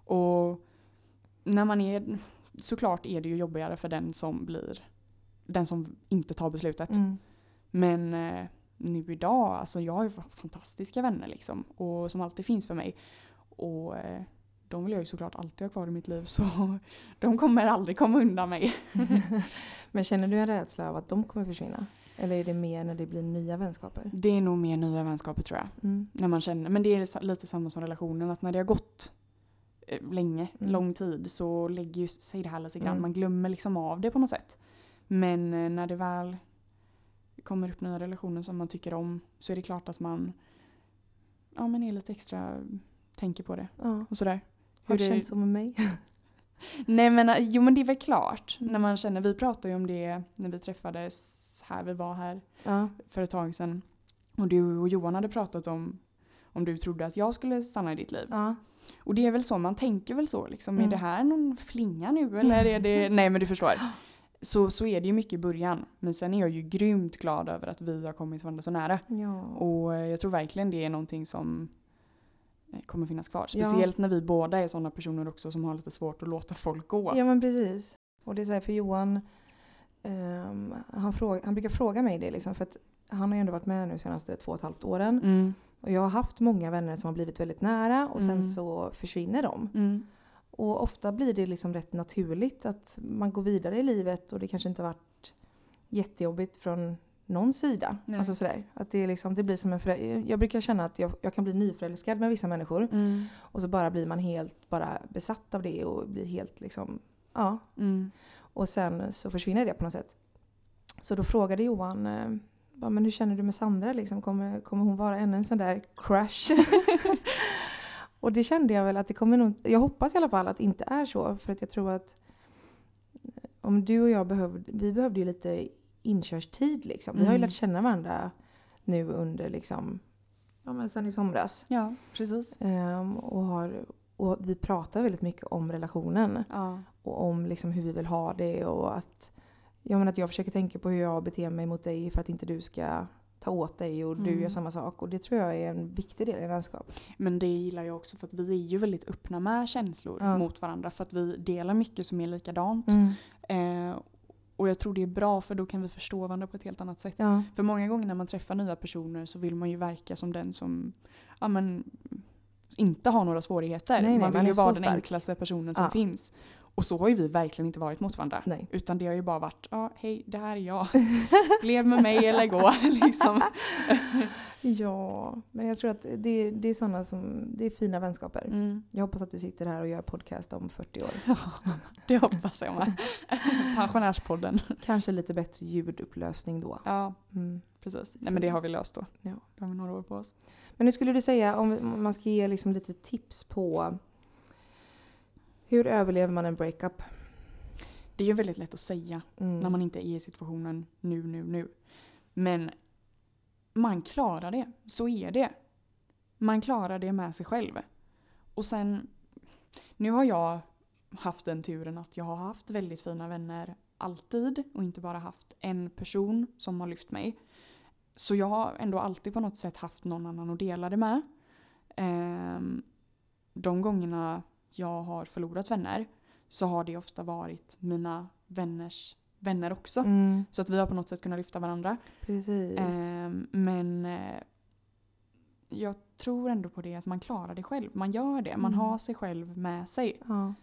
B: Och när man är, såklart är det ju jobbigare för den som blir, den som inte tar beslutet.
A: Mm.
B: Men eh, nu idag, alltså jag har ju fantastiska vänner liksom. Och som alltid finns för mig. Och eh, de vill jag ju såklart alltid ha kvar i mitt liv så de kommer aldrig komma undan mig.
A: Men känner du en rädsla av att de kommer försvinna? Eller är det mer när det blir nya vänskaper?
B: Det är nog mer nya vänskaper tror jag.
A: Mm.
B: När man känner, men det är sa- lite samma som relationen att när det har gått eh, länge,
A: Mm.
B: lång tid så lägger ju sig det här lite grann.
A: Mm.
B: Man glömmer liksom av det på något sätt. Men eh, när det väl kommer upp nya relationer som man tycker om så är det klart att man ja, men är lite extra, tänker på det
A: Ja.
B: och sådär.
A: Har det
B: Hur är-
A: känts så med mig?
B: Nej men eh, jo men det är väl klart
A: Mm.
B: när man känner, vi pratade ju om det när vi träffades här, vi var här
A: Ja.
B: för ett tag sedan. Och du och Johan hade pratat om om du trodde att jag skulle stanna i ditt liv.
A: ja.
B: Och det är väl så, man tänker väl så liksom.
A: Mm.
B: Är det här någon flinga nu eller är det... Nej men du förstår. Så, så är det ju mycket i början. Men sen är jag ju grymt glad över att vi har kommit varandra så nära.
A: ja.
B: Och eh, jag tror verkligen det är någonting som eh, kommer finnas kvar.
A: Ja.
B: Speciellt när vi båda är sådana personer också som har lite svårt att låta folk gå.
A: Ja men precis. Och det är så här för Johan, ehm, han, fråga, han brukar fråga mig det liksom för att han har ju ändå varit med nu senaste två och ett halvt åren.
B: Mm.
A: Och jag har haft många vänner som har blivit väldigt nära och sen
B: Mm.
A: så försvinner de.
B: Mm.
A: Och ofta blir det liksom rätt naturligt att man går vidare i livet och det kanske inte har varit jättejobbigt från någon sida.
B: Nej.
A: Alltså sådär. Att det, är liksom, det blir som en förä- Jag brukar känna att jag, jag kan bli nyförälskad med vissa människor
B: Mm.
A: och så bara blir man helt bara besatt av det och blir helt liksom, ja.
B: Mm.
A: Och sen så försvinner det på något sätt. Så då frågade Johan, eh, bara, men hur känner du med Sandra liksom? Kommer, kommer hon vara ännu en sån där crush? och det kände jag väl att det kommer nog, jag hoppas i alla fall att det inte är så. För att jag tror att eh, om du och jag behövde, vi behövde ju lite inkörstid liksom. Vi har ju
B: Mm.
A: lärt känna varandra nu under liksom, ja men sen i somras.
B: Ja, precis.
A: Ehm, och, har, och vi pratar väldigt mycket om relationen
B: Ja.
A: och om liksom hur vi vill ha det och att jag, menar att jag försöker tänka på hur jag beter mig mot dig för att inte du ska ta åt dig och du
B: Mm.
A: gör samma sak och det tror jag är en viktig del i en vänskap.
B: Men det gillar jag också för att vi är ju väldigt öppna med känslor
A: Ja.
B: mot varandra. För att vi delar mycket som är likadant. Eh, och jag tror det är bra för då kan vi förstå varandra på ett helt annat sätt.
A: Ja.
B: För många gånger när man träffar nya personer så vill man ju verka som den som ja, men, inte har några svårigheter.
A: Nej, nej,
B: man
A: man
B: vill
A: är
B: ju
A: så
B: vara den
A: stark.
B: enklaste personen som
A: Ja.
B: finns. Och så har ju vi verkligen inte varit mot varandra.
A: Nej.
B: Utan det har ju bara varit, ja hej det här är jag. Lev med mig eller gå. liksom.
A: ja, men jag tror att det, det är sådana som, det är fina vänskaper.
B: mm.
A: Jag hoppas att vi sitter här och gör podcast om 40 år.
B: Det hoppas jag med. Pensionärspodden.
A: Kanske lite bättre ljudupplösning då.
B: Ja,
A: Mm.
B: precis. Nej men det har vi löst då.
A: Ja.
B: Då har vi några år på oss.
A: Men hur skulle du säga om om man ska ge liksom lite tips på hur överlever man en breakup?
B: Det är ju väldigt lätt att säga
A: Mm.
B: när man inte är i situationen nu, nu, nu. Men man klarar det. Så är det. Man klarar det med sig själv. Och sen, nu har jag haft den turen att jag har haft väldigt fina vänner alltid och inte bara haft en person som har lyft mig. Så jag har ändå alltid på något sätt haft någon annan att dela det med. Ehm, de gångerna jag har förlorat vänner så har det ofta varit mina vänners vänner också.
A: mm.
B: Eh. Så att vi har på något sätt kunnat lyfta varandra.
A: Precis.
B: Ehm, men eh, Ehm, jag tror ändå på det att man klarar det själv. Man gör det. Man
A: Mm.
B: har sig själv med sig.
A: Ja.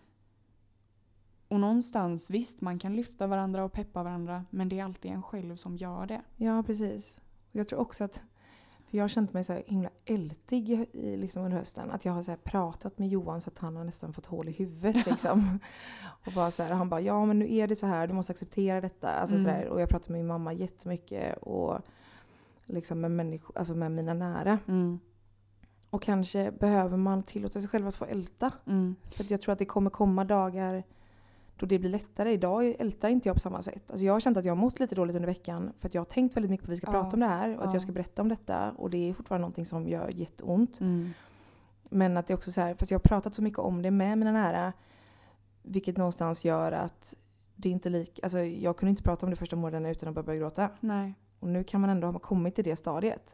B: Och någonstans, visst man kan lyfta varandra och peppa varandra men det är alltid en själv som gör det.
A: Ja, precis. Och Jag tror också att för jag har känt mig så här himla ältig i- i, liksom under hösten. Att jag har så här pratat med Johan så att han har nästan fått hål i huvudet. Liksom. och bara så här, han bara ja men nu är det så här, du måste acceptera detta. Alltså så
B: Mm.
A: där. Och jag pratar med min mamma jättemycket och liksom med, människor, alltså med mina nära.
B: Mm,
A: Och kanske behöver man tillåta sig själv att få älta.
B: mm,
A: För att jag tror att det kommer komma dagar då det blir lättare. Idag ältar inte jag på samma sätt. Alltså jag har känt att jag har mått lite dåligt under veckan för att jag har tänkt väldigt mycket på att vi ska
B: Ja,
A: prata om det här och att
B: ja.
A: jag ska berätta om detta och det är fortfarande någonting som gör jätteont.
B: mm,
A: Men att det är också så här, för att jag har pratat så mycket om det med mina nära vilket någonstans gör att det är inte lik, alltså jag kunde inte prata om det första månaden utan att börja börja gråta.
B: nej.
A: Och nu kan man ändå ha kommit till det stadiet.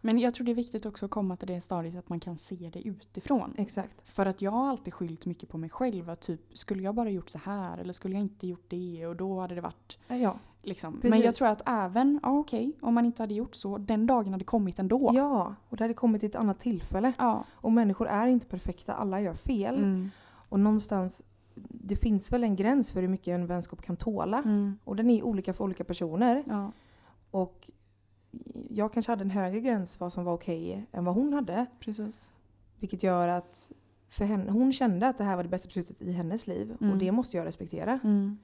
B: Men jag tror det är viktigt också att komma till det stadiet att man kan se det utifrån.
A: Exakt.
B: För att jag har alltid skyllt mycket på mig själv. Att typ, skulle jag bara gjort så här eller skulle jag inte gjort det och då hade det varit
A: Ja.
B: liksom. Men
A: Precis.
B: jag tror att även, ja okej, om man inte hade gjort så, den dagen hade kommit ändå.
A: ja, och det hade kommit till ett annat tillfälle.
B: Ja.
A: Och människor är inte perfekta, alla gör fel.
B: Mm.
A: Och någonstans, det finns väl en gräns för hur mycket en vänskap kan tåla.
B: Mm.
A: Och den är olika för olika personer.
B: Ja.
A: Och jag kanske hade en högre gräns vad som var okej än vad hon hade.
B: Precis.
A: Vilket gör att för henne, hon kände att det här var det bästa beslutet i hennes liv.
B: Mm.
A: Och det måste jag respektera.
B: Mm.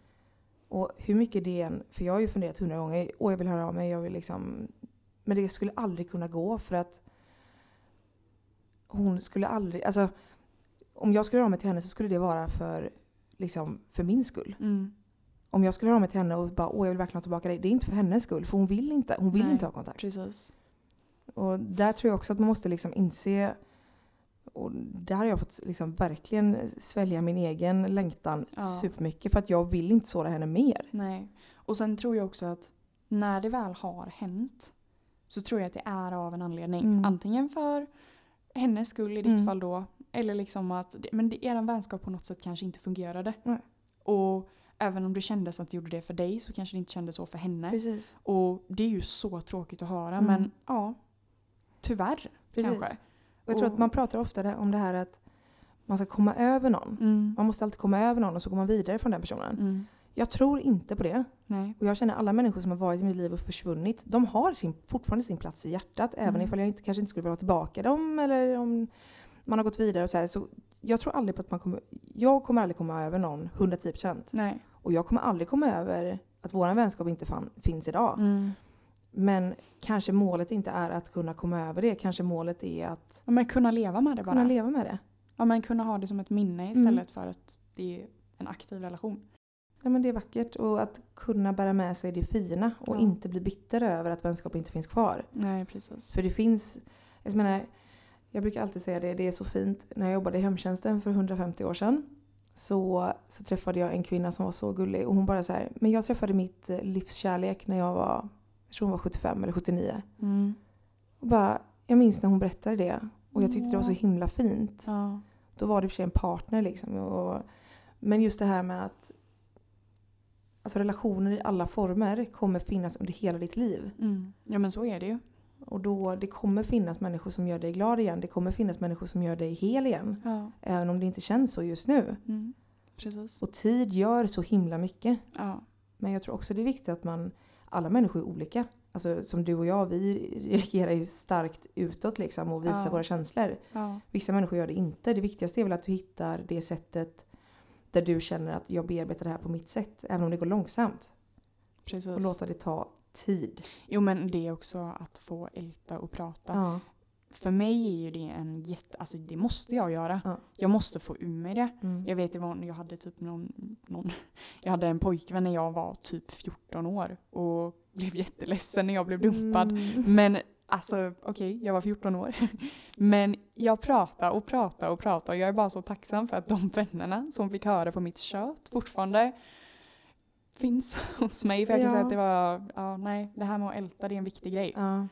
A: Och hur mycket det än, för jag har ju funderat hundra gånger, åh jag vill höra av mig, jag vill liksom. Men det skulle aldrig kunna gå för att hon skulle aldrig, alltså om jag skulle höra av mig till henne så skulle det vara för, liksom, för min skull.
B: Mm.
A: Om jag skulle höra av mig till henne och bara åh jag vill verkligen ha tillbaka dig, det är inte för hennes skull för hon vill inte, hon vill
B: Nej.
A: inte ha kontakt.
B: Precis.
A: Och där tror jag också att man måste liksom inse och där har jag fått liksom verkligen svälja min egen längtan
B: Ja.
A: supermycket för att jag vill inte såra henne mer.
B: Nej. Och sen tror jag också att när det väl har hänt så tror jag att det är av en anledning.
A: Mm.
B: Antingen för hennes skull i ditt
A: Mm.
B: fall då. Eller liksom att det- men det- er vänskap på något sätt kanske inte fungerade.
A: Nej.
B: Och även om det kändes att det gjorde det för dig så kanske det inte kändes så för henne.
A: Precis.
B: Och det är ju så tråkigt att höra
A: Mm.
B: men ja. Tyvärr
A: Precis.
B: kanske.
A: Och jag tror att
B: Och-
A: man pratar ofta det- om det här att man ska komma över någon.
B: Mm.
A: Man måste alltid komma över någon och så går man vidare från den personen.
B: Mm.
A: Jag tror inte på det.
B: Nej.
A: Och jag känner alla människor som har varit i mitt liv och försvunnit. De har sin, fortfarande sin plats i hjärtat. Även
B: Mm.
A: ifall jag inte, kanske inte skulle vilja ha tillbaka dem eller om man har gått vidare och så här. Så jag tror aldrig på att man kommer... Jag kommer aldrig komma över någon 110%.
B: Nej.
A: Och jag kommer aldrig komma över att vår vänskap inte fan, finns idag.
B: Mm.
A: Men kanske målet inte är att kunna komma över det. Kanske målet är att
B: Ja, men kunna leva med det bara.
A: kunna Mm. leva med det.
B: Ja, men kunna ha det som ett minne istället för att det är en aktiv relation.
A: Ja, men det är vackert och att kunna bära med sig det fina och
B: Ja.
A: inte bli bitter över att vänskap inte finns kvar.
B: Nej, precis.
A: För det finns, jag menar, jag brukar alltid säga det, det är så fint. När jag jobbade i hemtjänsten för 150 år sedan så, så träffade jag en kvinna som var så gullig och hon bara så här, men jag träffade mitt eh, livs kärlek när jag var, jag tror hon var 75 eller 79.
B: Mm.
A: Och bara, jag minns när hon berättade det och jag tyckte det var så
B: Ja.
A: himla fint.
B: Ja.
A: Då var det i och för sig en partner liksom. Och, men just det här med att alltså relationer i alla former kommer finnas under hela ditt liv.
B: Mm. ja, men så är det ju.
A: Och då, det kommer finnas människor som gör dig glad igen. Det kommer finnas människor som gör dig hel igen.
B: Ja.
A: Även om det inte känns så just nu.
B: Mm. Precis.
A: Och tid gör så himla mycket.
B: Ja.
A: Men jag tror också det är viktigt att man, alla människor är olika. Alltså som du och jag, vi reagerar ju starkt utåt liksom och visar
B: Ja.
A: våra känslor.
B: Ja.
A: Vissa människor gör det inte. Det viktigaste är väl att du hittar det sättet där du känner att jag bearbetar det här på mitt sätt. Även om det går långsamt.
B: Precis.
A: Och låta det ta tid.
B: Jo, men det är också att få älta och prata.
A: Ja.
B: För mig är ju det en jätte... Alltså det måste jag göra.
A: Ja.
B: Jag måste få ur mig det.
A: Mm.
B: Jag vet det var, jag hade typ någon, någon, jag hade en pojkvän när jag var typ 14 år och blev jätteledsen när jag blev dumpad.
A: Mm.
B: Men alltså okej, jag var 14 år. Men jag pratade och pratade och pratade och jag är bara så tacksam för att de vännerna som fick höra på mitt kött fortfarande finns hos mig. För jag kan
A: Ja.
B: säga att det var, ja nej, det här med att älta det är en viktig grej.
A: Ja,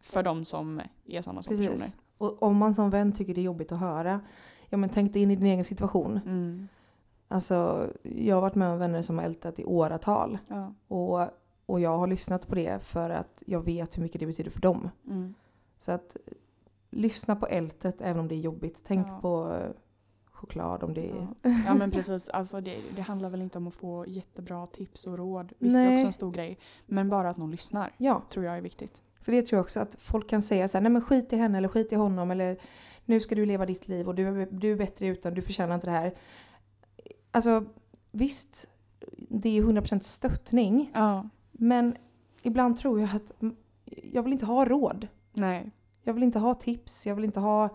B: För de som är sådana som personer.
A: precis. Och om man som vän tycker det är jobbigt att höra. Ja men tänk dig in i din egen situation.
B: Mm,
A: Alltså jag har varit med om vänner som har ältat i åratal.
B: ja,
A: Och, och jag har lyssnat på det för att jag vet hur mycket det betyder för dem.
B: mm,
A: Så att lyssna på ältet även om det är jobbigt. Tänk
C: Ja.
A: på eh, choklad om det är...
C: Ja.
B: Ja men precis, alltså det, det handlar väl inte om att få jättebra tips och råd. Visst det är
A: Nej.
B: också en stor grej. Men bara att någon lyssnar
A: ja.
B: tror jag är viktigt.
A: För det tror jag också att folk kan säga så här, nej men skit i henne eller skit i honom eller nu ska du leva ditt liv och du, är- du är bättre utan, du förtjänar inte det här. Alltså visst, det är 100% stöttning
B: Ja.
A: men ibland tror jag att mm, jag vill inte ha råd.
B: Nej.
A: Jag vill inte ha tips, jag vill inte ha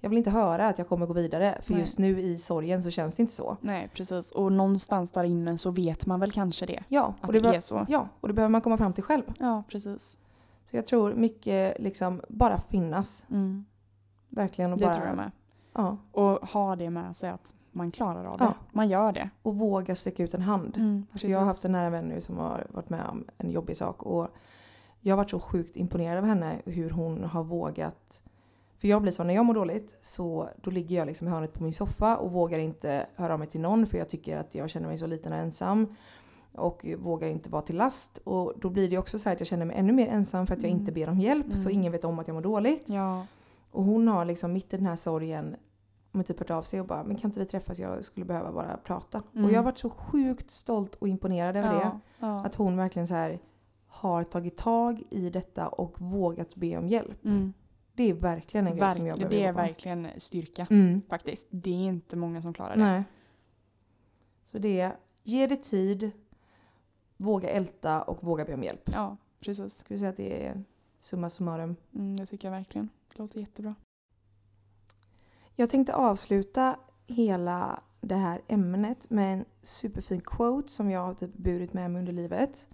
A: jag vill inte höra att jag kommer gå vidare för
B: Nej.
A: just nu i sorgen så känns det inte så.
B: Nej precis. Och någonstans där inne så vet man väl kanske det.
A: Ja,
B: Att
A: och det,
B: det
A: be-
B: är så.
A: ja, och det behöver man komma fram till själv.
B: Ja precis.
A: Så jag tror mycket liksom bara finnas.
B: Mm.
A: Verkligen och
B: Det
A: bara...
B: tror jag med.
A: Ja.
B: Och ha det med sig att man klarar av det.
A: Ja.
B: Man gör det.
A: och våga sträcka ut en hand.
B: Mm,
A: Alltså jag har haft en nära vän nu som har varit med om en jobbig sak och jag har varit så sjukt imponerad av henne hur hon har vågat. För jag blir så när jag mår dåligt så då ligger jag liksom i hörnet på min soffa och vågar inte höra av mig till någon för jag tycker att jag känner mig så liten och ensam. Och vågar inte vara till last och då blir det också så här att jag känner mig ännu mer ensam för att jag
B: Mm.
A: inte ber om hjälp så
B: Mm.
A: ingen vet om att jag mår dåligt.
B: Ja.
A: Och hon har liksom mitt i den här sorgen men typ hört av sig och bara men kan inte vi träffas? Jag skulle behöva bara prata.
B: Mm.
A: Och jag har varit så sjukt stolt och imponerad över det.
B: ja. ja.
A: Att hon verkligen så här har tagit tag i detta och vågat be om hjälp.
B: Mm.
A: Det är verkligen en grej som jag
B: Verkl-
A: behöver
B: det är
A: jobba på.
B: verkligen styrka
A: Mm.
B: faktiskt. Det är inte många som klarar det.
A: Nej. Så det är ge det tid, våga älta och våga be om hjälp.
B: Ja precis.
A: Ska vi säga att det är summa summarum.
B: Mm, det tycker jag verkligen. Det låter jättebra.
A: Jag tänkte avsluta hela det här ämnet med en superfin quote som jag har typ burit med mig under livet.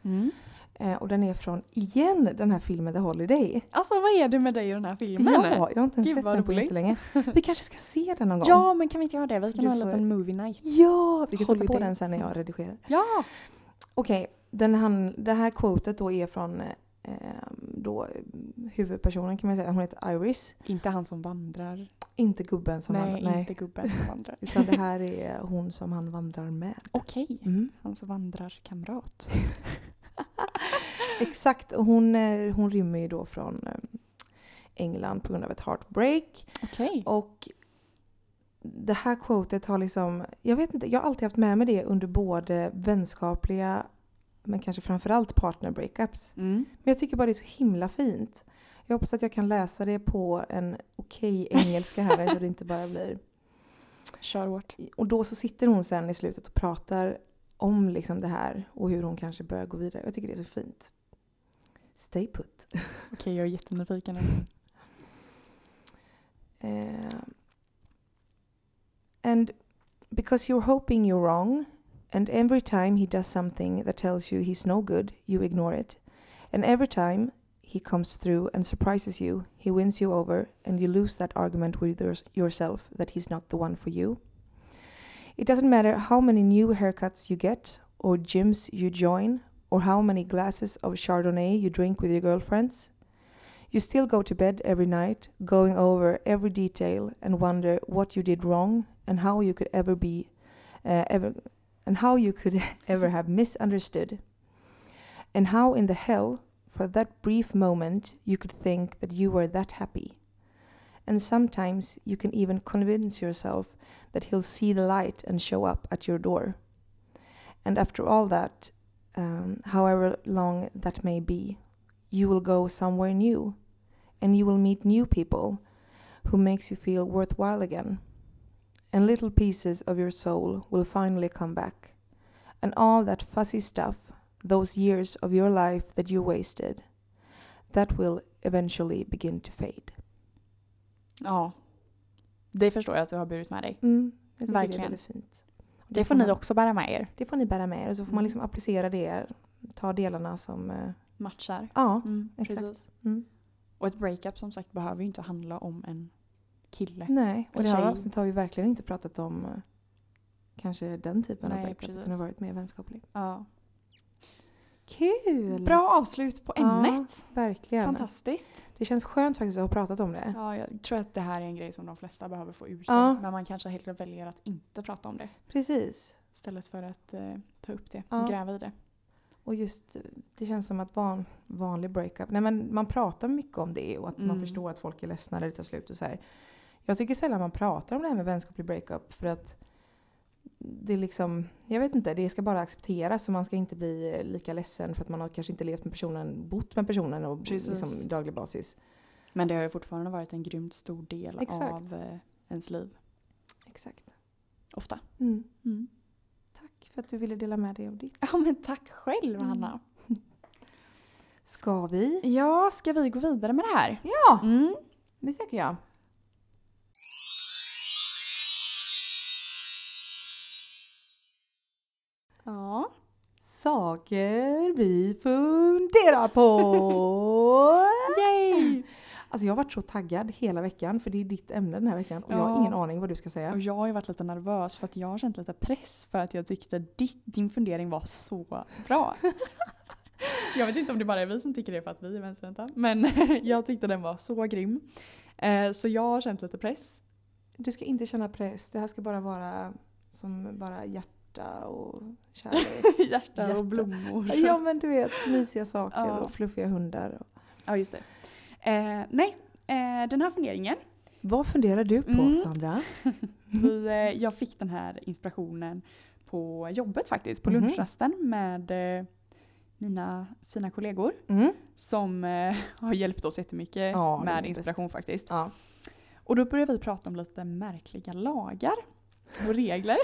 A: Eh, och den är från, igen, den här filmen The Holiday.
B: Alltså vad är det med dig och den här filmen?
A: ja, jag har inte ens
B: Gud,
A: sett
B: vad
A: den på
B: roligt.
A: jättelänge. Vi kanske ska se den någon gång?
B: Ja, men kan vi inte göra det? Vi
A: Så
B: kan
A: du
B: ha en
A: får-
B: liten movie night.
A: Ja! Vi kan sätta på
B: Holiday.
A: den sen när jag redigerar.
B: Ja!
A: Okej, den han, det här quotet då är från eh, då, eh, huvudpersonen kan man säga. Hon heter Iris.
B: Inte han som vandrar.
A: Inte gubben som
B: nej,
A: han... Nej,
B: inte gubben som vandrar.
A: Utan det här är hon som han vandrar med.
B: Okej,
A: Mm.
B: hans vandrarkamrat.
A: Exakt, och hon, eh, hon rymmer ju då från eh, England på grund av ett heartbreak.
B: Okej.
A: Och det här quotet har liksom, jag vet inte, jag har alltid haft med mig det under både vänskapliga men kanske framförallt partner breakups.
B: Mm.
A: Men jag tycker bara det är så himla fint. Jag hoppas att jag kan läsa det på en okej engelska här så det inte bara blir
B: Kör hårt.
A: och då så sitter hon sen i slutet och pratar om liksom det här och hur hon kanske bör gå vidare. Jag tycker det är så fint. Stay put.
B: Okej, jag är jättenyfiken. nu.
A: Eh, and because you're hoping you're wrong and every time he does something that tells you he's no good, you ignore it. And every time he comes through and surprises you, he wins you over and you lose that argument with yours- yourself that he's not the one for you. It doesn't matter how many new haircuts you get, or gyms you join, or how many glasses of Chardonnay you drink with your girlfriends. You still go to bed every night, going over every detail and wonder what you did wrong and how you could ever be, uh, ever, and how you could ever have misunderstood, and how in the hell, for that brief moment, you could think that you were that happy. And sometimes you can even convince yourself that he'll see the light and show up at your door. And after all that, um, however long that may be, you will go somewhere new and you will meet new people who makes you feel worthwhile again. And little pieces of your soul will finally come back. And all that fuzzy stuff, those years of your life that you wasted, that will eventually begin to fade.
B: Ja. Det förstår jag att du har burit med dig.
A: Mm, jag tycker Det, är
B: Verkligen.
A: väldigt fint.
B: Det, får ni
A: man-
B: också bära med er.
A: Det får ni bära med er och så får
B: Mm.
A: man liksom applicera det, ta delarna som... eh,
B: Matchar.
A: Ja,
B: Mm,
A: exakt.
B: precis.
A: Mm.
B: Och ett breakup som sagt behöver ju inte handla om en kille.
A: Mm. nej. Och
B: Eller
A: det här
B: tjej.
A: avsnittet har vi verkligen inte pratat om eh, kanske den typen
B: Nej,
A: av breakup utan det
B: precis.
A: har varit mer vänskaplig.
B: Ja.
A: Kul!
B: Bra avslut på
A: Ja,
B: ämnet.
A: Verkligen.
B: Fantastiskt.
A: Det känns skönt faktiskt att ha pratat om det.
B: Ja, jag tror att det här är en grej som de flesta behöver få ur sig.
A: Ja.
B: Men man kanske hellre väljer att inte prata om det.
A: Precis.
B: Istället för att eh, ta upp det
A: Ja.
B: och gräva i det.
A: Och just, eh, det känns som att van, vanlig breakup, nej men man pratar mycket om det och att man
B: Mm.
A: förstår att folk är ledsna när det tar slut och så här. Jag tycker sällan man pratar om det här med vänskaplig breakup för att det är liksom, jag vet inte, det ska bara accepteras och man ska inte bli eh, lika ledsen för att man har kanske inte levt med personen, bott med personen och
B: Precis.
A: liksom daglig basis.
B: Men det har ju fortfarande varit en grymt stor del
A: Exakt.
B: av eh, ens liv.
A: Exakt.
B: Ofta.
A: Mm. Tack för att du ville dela med dig av ditt.
B: Ja men tack själv Hanna.
A: Ska vi?
B: Mm. Ja, ska vi gå vidare med det här?
A: Ja,
B: Mm.
A: det tycker jag.
B: Ja.
A: Saker vi funderar på!
B: Yay!
A: Alltså jag har varit så taggad hela veckan för det är ditt ämne den här veckan och jag har
B: Ja.
A: ingen aning vad du ska
B: Och
A: säga.
B: jag har ju varit lite nervös för att jag har känt lite press för att jag tyckte ditt, din fundering var så bra. jag vet inte om det bara är vi som tycker det för att vi är vänsterhänta. Men jag tyckte den var så grym. Eh, så jag har känt lite press.
A: Du ska inte känna press, det här ska bara vara som bara hjärta och kärlek.
B: Hjärta
A: Hjärta.
B: och blommor.
A: ja men du vet, mysiga saker
B: Ja.
A: och fluffiga hundar.
B: Ja, just det. Eh, nej, eh, den här funderingen.
A: Vad funderar du på
B: Mm.
A: Sandra? Mm.
B: Vi, eh, jag fick den här inspirationen på jobbet faktiskt, på
A: Mhm.
B: lunchrasten med eh, mina fina kollegor
A: Mm.
B: som eh, har hjälpt oss jättemycket
A: Ja, de är
B: med
A: bäst.
B: inspiration faktiskt.
A: Ja.
B: Och då började vi prata om lite märkliga lagar och regler.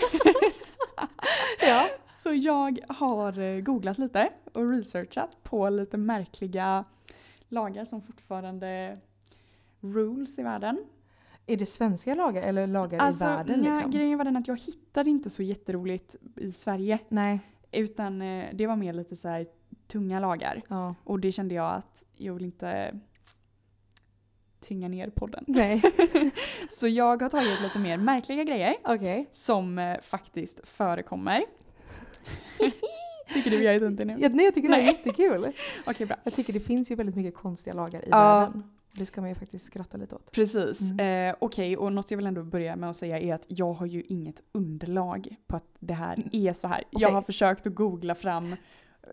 A: ja.
B: Så jag har eh, googlat lite och researchat på lite märkliga lagar som fortfarande rules i världen.
A: Är det svenska lagar eller lagar
B: Alltså,
A: i världen?
B: nja,
A: liksom?
B: grejen var den att jag hittade inte så jätteroligt i Sverige.
A: Nej.
B: Utan eh, det var mer lite så här tunga lagar.
A: Ja.
B: Och det kände jag att jag vill inte tynga ner podden.
A: Nej.
B: Så jag har tagit lite mer märkliga grejer
A: Okej.
B: som eh, faktiskt förekommer. Tycker du jag är töntig nu?
A: Ja, nej jag tycker det här är
B: Nej.
A: jättekul.
B: Okej, bra.
A: Jag tycker det finns ju väldigt mycket konstiga lagar i
B: Ja.
A: världen. Det ska man ju faktiskt skratta lite åt.
B: Precis.
A: Mm.
B: Eh, Okej, och något jag vill ändå börja med att säga är att jag har ju inget underlag på att det här är så här.
A: Mm. Okej.
B: Jag har försökt att googla fram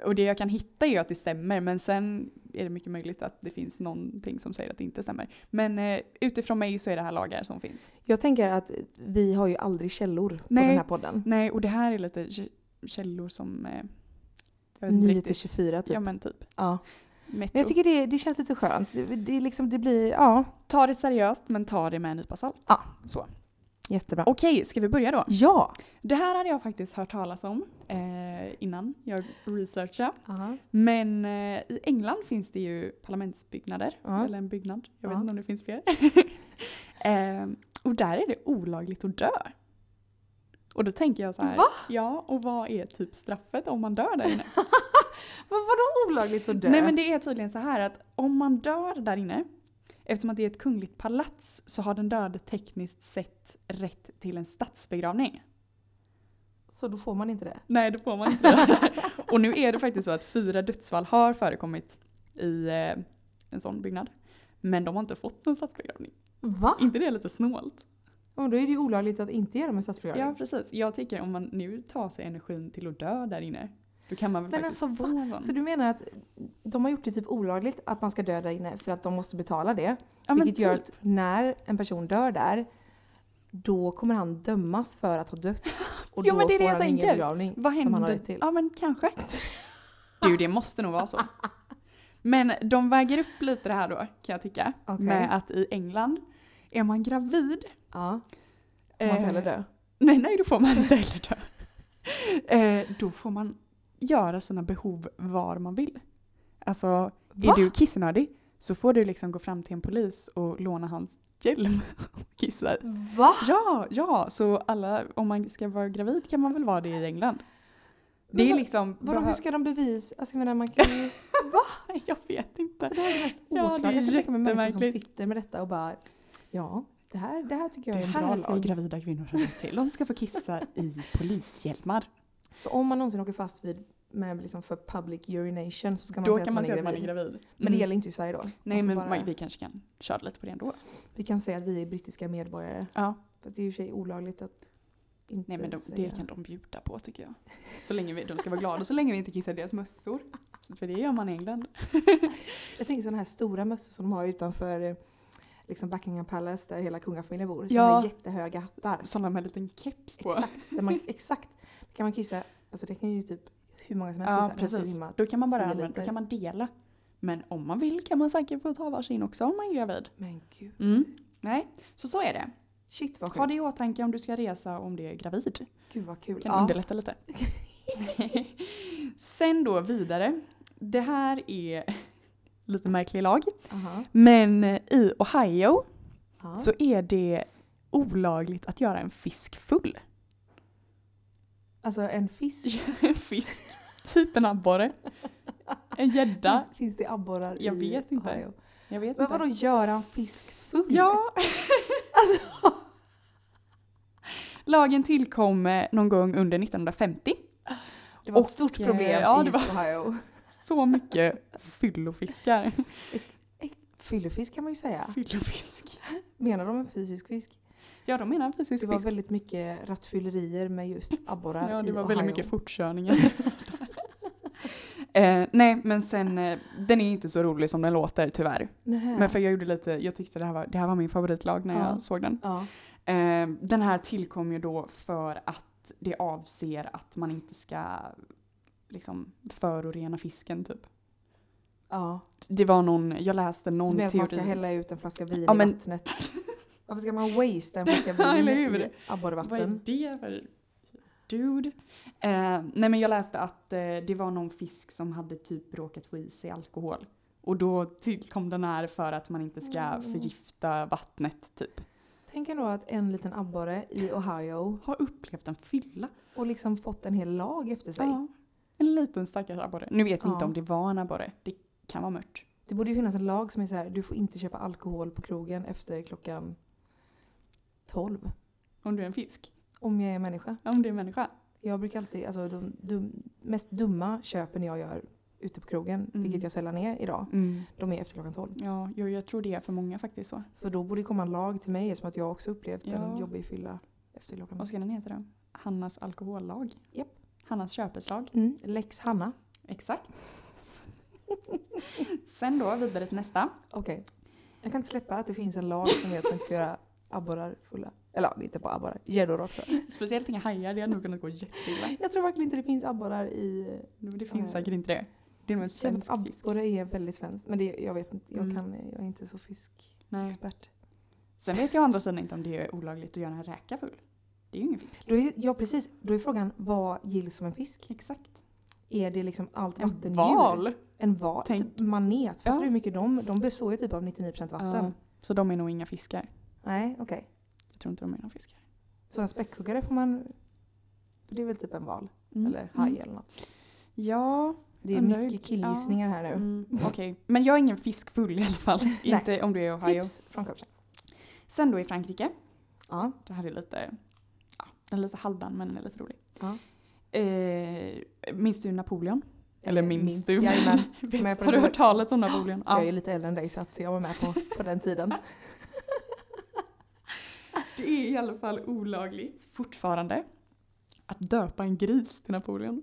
B: och det jag kan hitta är att det stämmer men sen är det mycket möjligt att det finns någonting som säger att det inte stämmer. Men eh, utifrån mig så är det här lagar som finns.
A: Jag tänker att vi har ju aldrig källor på
B: Nej.
A: den här podden.
B: Nej, och det här är lite k- källor som... Eh, jag vet inte
A: 9 till
B: riktigt.
A: 24 typ.
B: Ja
A: Ja,
B: men typ.
A: Men
B: Metro.
A: jag tycker det, det känns lite skönt. Det, det, är liksom, det blir, ja,
B: Ta det seriöst men ta det med en nypa salt.
A: Ja.
B: Så.
A: jättebra.
B: Okej, ska vi börja då?
A: ja!
B: Det här hade jag faktiskt hört talas om eh, innan jag researchade. Men eh, i England finns det ju parlamentsbyggnader.
A: Ja.
B: Eller en byggnad. Jag
A: Ja.
B: vet inte om det finns fler. eh, och där är det olagligt att dö. Och då tänker jag så här.
A: Va?
B: Ja, och vad är typ straffet om man dör där inne?
A: Vad, vadå olagligt att dö?
B: Nej men det är tydligen så här att om man dör där inne, eftersom att det är ett kungligt palats, så har den döde tekniskt sett rätt till en statsbegravning.
A: Så då får man inte det?
B: Nej, då får man inte göra det. Och nu är det faktiskt så att fyra dödsfall har förekommit i eh, en sån byggnad. Men de har inte fått någon statsbegravning.
A: Va?
B: inte det lite snålt?
A: Ja, då är det ju olagligt att inte ge dem en statsbegravning.
B: Ja, precis. Jag tycker om man nu tar sig energin till att dö där inne, då kan man väl
A: Men
B: faktiskt
A: alltså,
B: få någon.
A: Så du menar att de har gjort det typ olagligt att man ska dö där inne för att de måste betala det?
B: ja, men
A: Vilket gör
B: typ.
A: att när en person dör där, då kommer han dömas för att ha dött. Och
B: Jo,
A: då
B: men det är det jag
A: får han
B: tänker.
A: ingen begravning.
B: Vad
A: som han har
B: händer?
A: rätt till.
B: Ja men kanske. Du det måste nog vara så. Men de väger upp lite det här då kan jag tycka.
A: Okej.
B: Med att i England är man gravid. eh,
A: Ja, får man inte heller dö.
B: Nej nej då får man inte heller dö. Eh, då får man göra sina behov var man vill. Alltså
A: Va?
B: är du kissnödig så får du liksom gå fram till en polis och låna hans hjälm och kissa i.
A: Va?
B: Ja, ja, så alla, om man ska vara gravid kan man väl vara det i England? Det
A: Men
B: är
A: vad-
B: liksom...
A: Vadå,
B: behö-
A: hur ska de bevisa? Alltså jag menar man kan ju...
B: Nej, Jag vet inte.
A: Alltså, det här är det mest
B: Ja, det är
A: oklart. jag kan tänka mig människor som
B: jättemärkligt.
A: sitter med detta och bara Ja, det här, det här tycker jag
B: Det
A: är en bra
B: här ska
A: lag.
B: gravida kvinnor ha rätt till. De ska få kissa i polishjälmar.
A: Så om man någonsin åker fast vid med liksom för public urination så ska man
B: Då
A: säga
B: kan
A: att
B: man
A: man,
B: säga att
A: är
B: man är
A: gravid.
B: gravid.
A: Men det
B: Mm.
A: gäller inte i Sverige då.
B: Nej
A: Man
B: men
A: får
B: man,
A: bara,
B: vi kanske kan köra lite på det ändå.
A: vi kan säga att vi är brittiska medborgare.
B: Ja.
A: För att det är i och för sig olagligt att Inte
B: Nej men de,
A: säga.
B: det kan de bjuda på tycker jag. Så länge vi, de ska vara glada så länge vi inte kissar i deras mössor. För det gör man i England.
A: Jag tänker sådana här stora mössor som de har utanför eh, liksom Buckingham Palace där hela kungafamiljen bor. Som
B: Ja.
A: är jättehöga hattar.
B: Sådana med en liten keps på.
A: Exakt. Där man, exakt. Kan man kissa, alltså det kan ju typ hur många som helst
B: Ja
A: kissa. Det är så
B: precis.
A: himla-
B: Då kan man bara
A: Som är
B: använda, då
A: liksom lite-
B: kan man dela. Men om man vill kan man säkert få ta varsin också om man är gravid.
A: Men gud.
B: Nej, så så är det.
A: Shit vad
B: Ha
A: sjukt.
B: det i åtanke om du ska resa och om du är gravid.
A: Gud vad kul.
B: Kan underlätta lite. Sen då vidare. Det här är lite märklig lag.
A: Aha.
B: Men eh, i Ohio
A: Ja.
B: så är det olagligt att göra en fisk full.
A: Alltså en fisk.
B: Göra en fisk, typ en abborre. En gädda.
A: Finns, finns det abborrar
B: Jag
A: i
B: vet inte.
A: Ohio?
B: Jag vet
A: Men
B: inte.
A: vadå göra en fisk full?
B: Ja! Alltså. Lagen tillkom eh, någon gång under 1950.
A: Det var
B: Och,
A: ett stort
B: eh,
A: problem
B: ja,
A: i
B: det
A: just Ohio.
B: Så mycket fyllofiskar.
A: Fyllefisk kan man ju säga.
B: Fyllofisk.
A: Menar de en fysisk fisk?
B: Ja, de menar precis
A: Det
B: fisk.
A: var väldigt mycket rattfyllerier med just abborrar
B: Ja, det
A: i
B: var
A: Ohio.
B: väldigt mycket fortkörningar. Just där. eh, nej, men sen, eh, den är inte så rolig som den låter tyvärr.
A: Nähä.
B: Men för jag gjorde lite, jag tyckte det här var, det här var min favoritlag när
A: Ja.
B: jag såg den.
A: Ja.
B: Eh, den här tillkom ju då för att det avser att man inte ska liksom förorena fisken typ.
A: ja.
B: Det var någon, jag läste
A: Du
B: någon
A: menar att man ska
B: teori.
A: hälla ut en flaska vin
B: Ja,
A: i
B: men-
A: vattnet? Varför ska man waste en flaska vin
B: Eller hur?
A: i
B: Vad är
A: abborrvatten?
B: det för dude? Eh, nej men jag läste att eh, det var någon fisk som hade typ råkat få i sig alkohol. Och då tillkom den här för att man inte ska
A: Mm.
B: förgifta vattnet typ.
A: Tänk ändå att en liten abborre i Ohio
B: Har upplevt en fylla.
A: och liksom fått en hel lag efter sig.
B: Ja. En liten stackars abborre. Nu vet vi inte
A: Ja.
B: om det var en abborre. Det kan vara mört.
A: Det borde ju finnas en lag som är så här: du får inte köpa alkohol på krogen efter klockan 12.
B: Om du är en fisk.
A: Om jag är människa.
B: Om du är en människa.
A: Jag brukar alltid, alltså de dum, mest dumma köpen jag gör ute på krogen,
B: Mm.
A: vilket jag sällan är idag, de är efter klockan 12.
B: Ja, jag, jag tror det är för många faktiskt så.
A: Så då borde det komma en lag till mig som att jag också upplevt
B: Ja.
A: en jobbig fylla efter klockan
B: Vad
A: 12.
B: ska den heta då? Hannas alkohollag.
A: Japp.
B: Hannas köpeslag.
A: Mm, Lex Hanna.
B: Exakt. Sen då, vidare till nästa.
A: Okej. Jag kan inte släppa att det finns en lag som heter att man inte får göra abborrar fulla. Eller ja, inte bara abborrar, gäddor också.
B: Speciellt inga hajar, det hade nog kunnat gå jätteilla.
A: Jag tror verkligen inte det finns abborrar i...
B: Men Det finns säkert inte det. Det är nog en svensk fisk.
A: Abborre är väldigt svenskt. Men det, jag vet inte, jag,
B: Mm.
A: kan, jag är inte så fiskexpert.
B: Nej. Sen vet jag å andra sidan inte om det är olagligt att göra en räka full. Det är ju ingen fisk.
A: Då är, ja precis, då är frågan vad gills som en fisk?
B: Exakt.
A: Är det liksom allt
B: En
A: vattendjur?
B: val!
A: En val?
B: Tänk.
A: Typ manet. Fattar
B: Ja.
A: du hur mycket de, de består ju typ av 99% vatten.
B: Ja, så de är nog inga fiskar.
A: Nej, okej.
B: Jag tror inte de är några fiskar.
A: Så en späckhuggare får man... Det är väl typ en val? Eller haj eller något.
B: Ja,
A: Det är
B: Mm. Undrar hur-
A: mycket killgissningar här nu.
B: mm, okej. Men jag är ingen fiskfull i alla fall. inte om du är i Ohio.
A: Tips från coachen.
B: Sen då i Frankrike.
A: Ja.
B: Det här är lite, ja, den är lite halvdan men den är lite rolig.
A: Ja.
B: Eh, minns du Napoleon? Eller
A: Eh,
B: minns,
A: minns,
B: du?
A: jajamän.
B: Vet,
A: Men jag
B: har du hört talet om Napoleon?
A: Jag är
B: Ja.
A: lite äldre än dig så att jag var med på, på den tiden.
B: Det är i alla fall olagligt fortfarande att döpa en gris till Napoleon.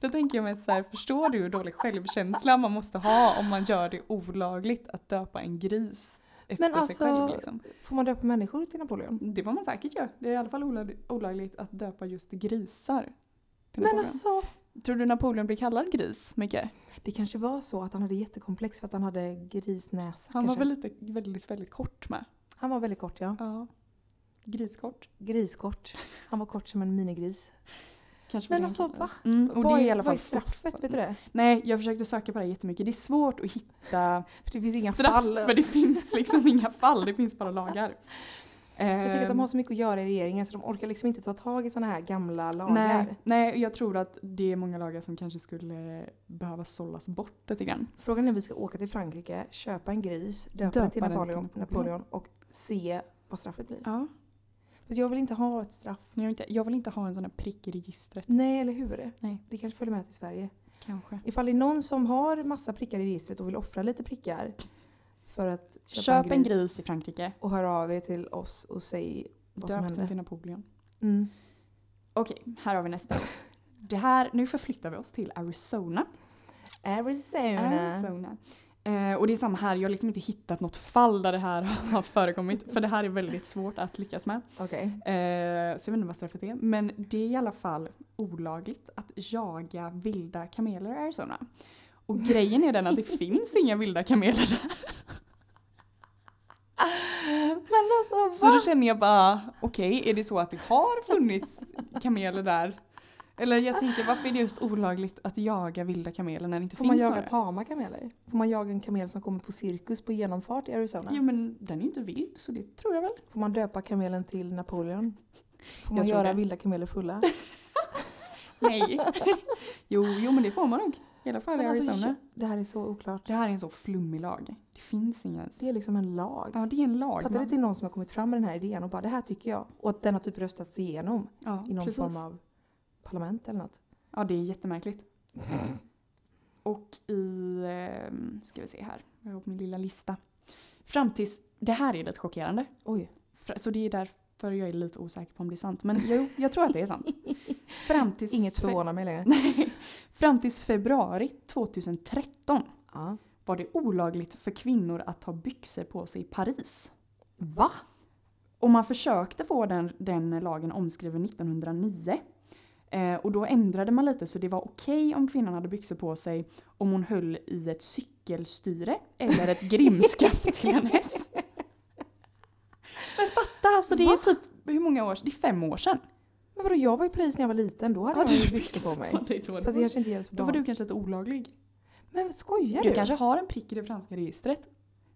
B: Då tänker jag mig så här, förstår du hur dålig självkänsla man måste ha om man gör det olagligt att döpa en gris efter
A: Men
B: sig själv?
A: alltså,
B: Liksom?
A: Får man döpa människor till Napoleon?
B: Det får man säkert göra. Det är i alla fall olag- olagligt att döpa just grisar till
A: Men
B: Napoleon.
A: alltså,
B: Tror du Napoleon blir kallad gris mycket?
A: det kanske var så att han hade jättekomplex för att han hade grisnäsa.
B: Han var
A: kanske.
B: väl lite, väldigt, väldigt kort med.
A: han var väldigt kort ja.
B: Ja. Griskort.
A: Griskort. Han var kort som en minigris.
B: Kanske
A: Men
B: var det
A: alltså
B: han
A: va?
B: kallades. Mm, och det är i alla
A: vad
B: fall
A: är straffet?
B: fortfarande-
A: Vet du det?
B: Nej, jag försökte söka på det här jättemycket. Det är svårt att hitta
A: För det finns inga
B: straff
A: fall.
B: för det finns liksom inga fall. Det finns bara lagar.
A: Jag tänker att de
B: Ehm,
A: har så mycket att göra i regeringen så de orkar liksom inte ta tag i såna här gamla lagar.
B: nej, nej, jag tror att det är många lagar som kanske skulle behöva sållas bort lite grann.
A: Frågan är om vi ska åka till Frankrike, köpa en gris, döpa,
B: Döpa
A: den till
B: den
A: Napoleon,
B: till Napoleon.
A: Napoleon och se vad straffet blir.
B: Ja.
A: För jag vill inte ha ett straff.
B: Jag vill, inte, jag vill inte ha en sån här prick i registret.
A: Nej, eller hur?
B: Nej.
A: Det kanske följer med till Sverige.
B: Kanske.
A: Ifall det är någon som har massa prickar i registret och vill offra lite prickar för att köpa
B: Köp en gris i Frankrike.
A: Och hör av er till oss och säg vad som
D: Döpt den
A: hände.
D: till Napoleon.
A: Mm.
B: Okej, här har vi nästa. Det här, nu förflyttar vi oss till Arizona.
A: Arizona.
B: Arizona. Eh, och det är samma här, jag har liksom inte hittat något fall där det här har förekommit. För det här är väldigt svårt att lyckas med.
A: Okej.
B: Eh, så jag vet inte vad straffet är. Men det är i alla fall olagligt att jaga vilda kameler i Arizona. Och grejen är den att det finns inga vilda kameler där.
A: Men alltså
B: Så
A: va?
B: då känner jag bara, okej är det så att det har funnits kameler där? Eller jag tänker varför är det just olagligt att jaga vilda kameler när det inte
A: Får man
B: finns
A: jaga
B: några?
A: tama kameler? Får man jaga en kamel som kommer på cirkus på genomfart i Arizona?
B: Jo men den är ju inte vild så det tror jag väl.
A: Får man döpa kamelen till Napoleon? Får
B: Jag
A: man
B: tror
A: göra
B: det.
A: vilda kameler fulla?
B: Nej. jo, jo men det får man nog. I alla fall i
A: Men alltså,
B: Arizona.
A: Det här är så oklart.
B: Det här är en så flummig lag. Det finns ingen ens.
A: Det är liksom en lag.
B: Ja det är en lag.
A: Fattar du typ
B: man-
A: att det är någon som har kommit fram med den här idén och bara det här tycker jag. Och att den har typ röstats igenom
B: Ja,
A: i någon
B: precis.
A: form av parlament eller något.
B: Ja, det är jättemärkligt. Och i, ehm, ska vi se här, jag har på min lilla lista. Fram tills, det här är lite chockerande.
A: Oj.
B: Fra- Så det är därför jag är lite osäker på om det är sant. Men jag, jag tror att det är sant. Fram tills,
A: Inget
B: fe-
A: förvånar mig längre.
B: Nej, fram tills februari 2013
A: Ja.
B: var det olagligt för kvinnor att ha byxor på sig i Paris.
A: Va?
B: Och man försökte få den, den lagen omskriven 1909. Eh, och då ändrade man lite så det var okej om kvinnan hade byxor på sig om hon höll i ett cykelstyre eller ett grimskaft till en häst. Men fatta alltså det är
A: Va?
B: typ, hur många år sedan? Det är fem år sedan.
A: Men vadå jag var i Paris när jag var liten, då hade
B: Hade
A: jag
B: du
A: ju byxor på mig. Fast
B: dig då?
A: det kanske inte gäller så
B: Då var
A: barn.
B: du kanske lite olaglig.
A: Men skojar du?
B: Du kanske har en prick i det franska registret?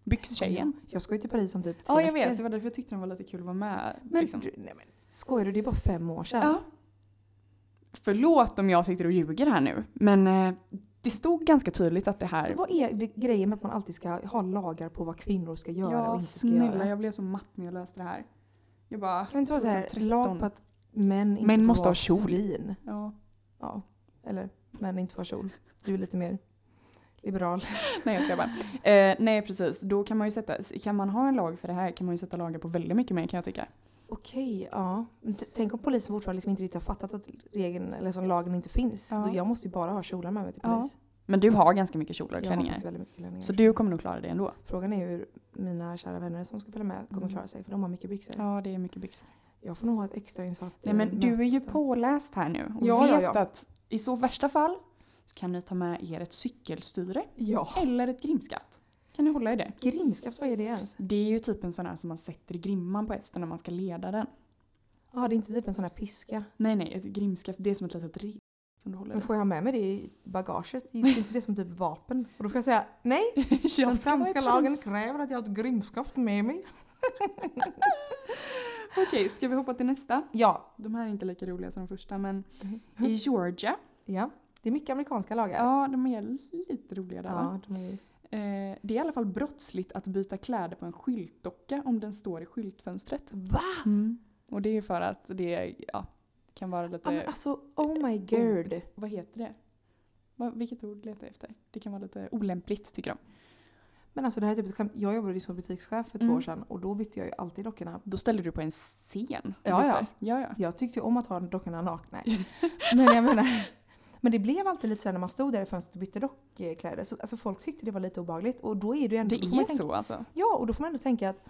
B: Byxtjejen.
A: Jag ska ju till Paris om typ
B: Ja
A: tre
B: jag vet,
A: veckor.
B: det var därför jag tyckte den var lite kul att vara med.
A: Men,
B: liksom.
A: du, nej, men skojar du? Det är bara fem år sedan.
B: Ja. Förlåt om jag sitter och ljuger här nu, men eh, det stod ganska tydligt att det här...
A: Så vad är det, grejen med att man alltid ska ha lagar på vad kvinnor ska göra och
B: ja,
A: inte ska
B: snälla,
A: göra?
B: jag blev så matt när jag läste det här. Jag bara...
A: Kan vi inte ha så här
B: 2013.
A: lag på att män inte
B: Män
A: får
B: måste
A: vara
B: ha kjol.
A: svin?
B: Ja.
A: Ja, eller män inte får ha kjol. Du är lite mer liberal.
B: Nej, jag ska bara. Eh, nej, precis. Då kan man ju sätta... Kan man ha en lag för det här kan man ju sätta lagar på väldigt mycket mer kan jag tycka.
A: Okej, ja. Men t- Tänk om polisen fortfarande liksom inte riktigt har fattat att regeln, eller som lagen inte finns.
B: Ja.
A: Då jag måste ju bara ha kjolar med mig till
B: Ja,
A: polis.
B: Men du har ganska mycket kjolar och
A: jag har
B: klänningar.
A: faktiskt väldigt mycket klänningar.
B: Så du kommer nog klara det ändå.
A: Frågan är hur mina kära vänner som ska följa med kommer
B: Mm.
A: klara sig för de har mycket byxor.
B: Ja, det är mycket byxor.
A: Jag får nog ha ett extra insatt
B: Nej,
A: eh,
B: men du är ju
A: på.
B: påläst här nu och
A: Ja, ja,
B: vet
A: ja.
B: att i så värsta fall så kan ni ta med er ett cykelstyre
A: Ja.
B: Eller ett grimskaft. Kan ni hålla i det?
A: Grimskaft, vad är det ens?
B: Det är ju typ en sån här som man sätter i grimman på hästen när man ska leda den.
A: Ja, det är inte typ en sån här piska.
B: Nej, nej, ett grimskaft det är som ett litet rep som du håller i.
A: Men får jag ha med mig det i bagaget? Det är inte det som typ vapen? Och då får jag säga nej, den
B: Jag ska vara i
A: franska lagen
B: Paris.
A: kräver att jag har ett grimskaft med mig.
B: Okej, ska vi hoppa till nästa?
A: Ja.
B: De här är inte lika roliga som de första, men
A: Mhm.
B: i Georgia.
A: ja. Det är mycket amerikanska lagar.
B: Ja, de är lite roliga där va?
A: Ja, de är...
B: Eh, det är i alla fall brottsligt att byta kläder på en skyltdocka om den står i skyltfönstret.
A: Va?
B: Mm. Och det är ju för att det ja, kan vara
A: Ja, men
B: lite...
A: alltså, oh my god.
B: Vad heter det? Vad- vilket ord letar jag efter? Det kan vara lite olämpligt tycker de.
A: Men alltså det här är typ ett skämt. Jag jobbade ju som butikschef för två
B: Mm.
A: år sedan och då bytte jag ju alltid dockorna.
B: Då ställer du på en scen. och
A: Ja, ja.
B: byter. ja, ja.
A: Jag tyckte ju om att ha dockorna nakna. Men jag menar. Men det blev alltid lite så här när man stod där i fönstret och bytte dockkläder. Så, alltså folk tyckte det var lite obehagligt. Och då är det ju ändå...
B: Det
A: då får man
B: är
A: tänka,
B: så alltså.
A: Ja, och då får man ändå tänka att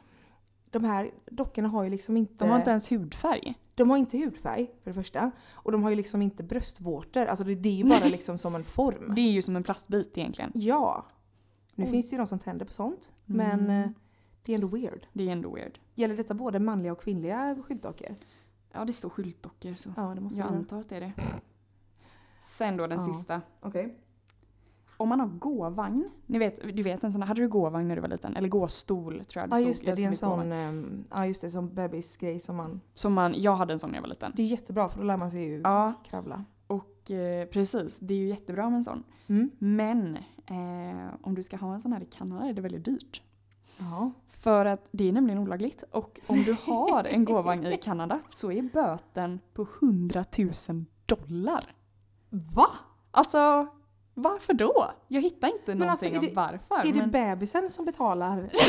A: de här dockorna har ju liksom inte...
B: De har inte ens hudfärg.
A: de har inte hudfärg för det första. Och de har ju liksom inte bröstvårtor. Alltså det, det är ju bara liksom som en form.
B: Det är ju som en plastbit egentligen.
A: Ja. Nu
B: Oj.
A: finns det ju de som tänder på sånt.
B: Mm.
A: Men eh, det är ändå weird.
B: Det är ändå weird.
A: Gäller detta både manliga och kvinnliga skyltdockor?
B: Ja, det står skyltdockor så
A: Ja, det måste
B: jag
A: det göra.
B: antar att det är det. Sen då den
A: Ja.
B: sista.
A: Okej.
B: Om man har gåvagn. Ni vet, du vet en sån här, hade du gåvagn när du var liten? Eller gåstol tror jag det
A: Ja
B: stod.
A: just det,
B: Jag
A: det är en
B: skulle gåvagn.
A: sån ehm, ja, just det, som bebisgrej som man...
B: Som man, jag hade en sån när jag var liten.
A: Det är jättebra för då lär man sig ju
B: Ja,
A: kravla.
B: och eh, precis. Det är ju jättebra med en sån.
A: Mm.
B: Men eh, om du ska ha en sån här i Kanada är det väldigt dyrt.
A: Ja.
B: För att det är nämligen olagligt och om du har en gåvagn i Kanada så är böten på 100 000 dollar.
A: Va?
B: Alltså, Varför då? Jag hittar inte
A: Men alltså,
B: någonting
A: är det-
B: om varför.
A: Är det
B: men...
A: bebisen som betalar?
B: Ja,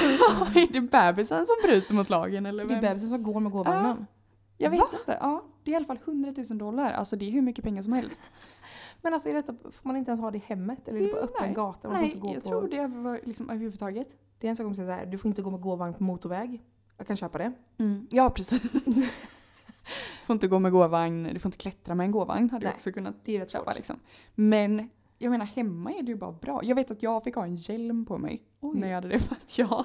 B: är det bebisen som bryter mot lagen eller
A: Det är
B: vem?
A: bebisen som går med gåvagnen.
B: jag vet inte. Ja, det är i alla fall 100 000 dollar. Alltså det är hur mycket pengar som helst.
A: Men alltså är detta, får man inte ens ha det i hemmet? Eller är det på
B: Mm,
A: öppen
B: nej.
A: gata? Man får
B: Nej,
A: inte gå
B: jag
A: på...
B: tror det var liksom överhuvudtaget.
A: Det är en sak om att säga såhär, du får inte gå med gåvagn på motorväg. Jag kan köpa det.
B: Ja, precis. du Mm. får inte gå med gåvagn, du får inte klättra med en gåvagn. Hade jag
A: Nej.
B: också kunnat
A: Det är rätt
B: köpa
A: svårt.
B: liksom. Men jag menar hemma är det ju bara bra. Jag vet att jag fick ha en hjälm på mig
A: Oj.
B: när jag hade det för att jag,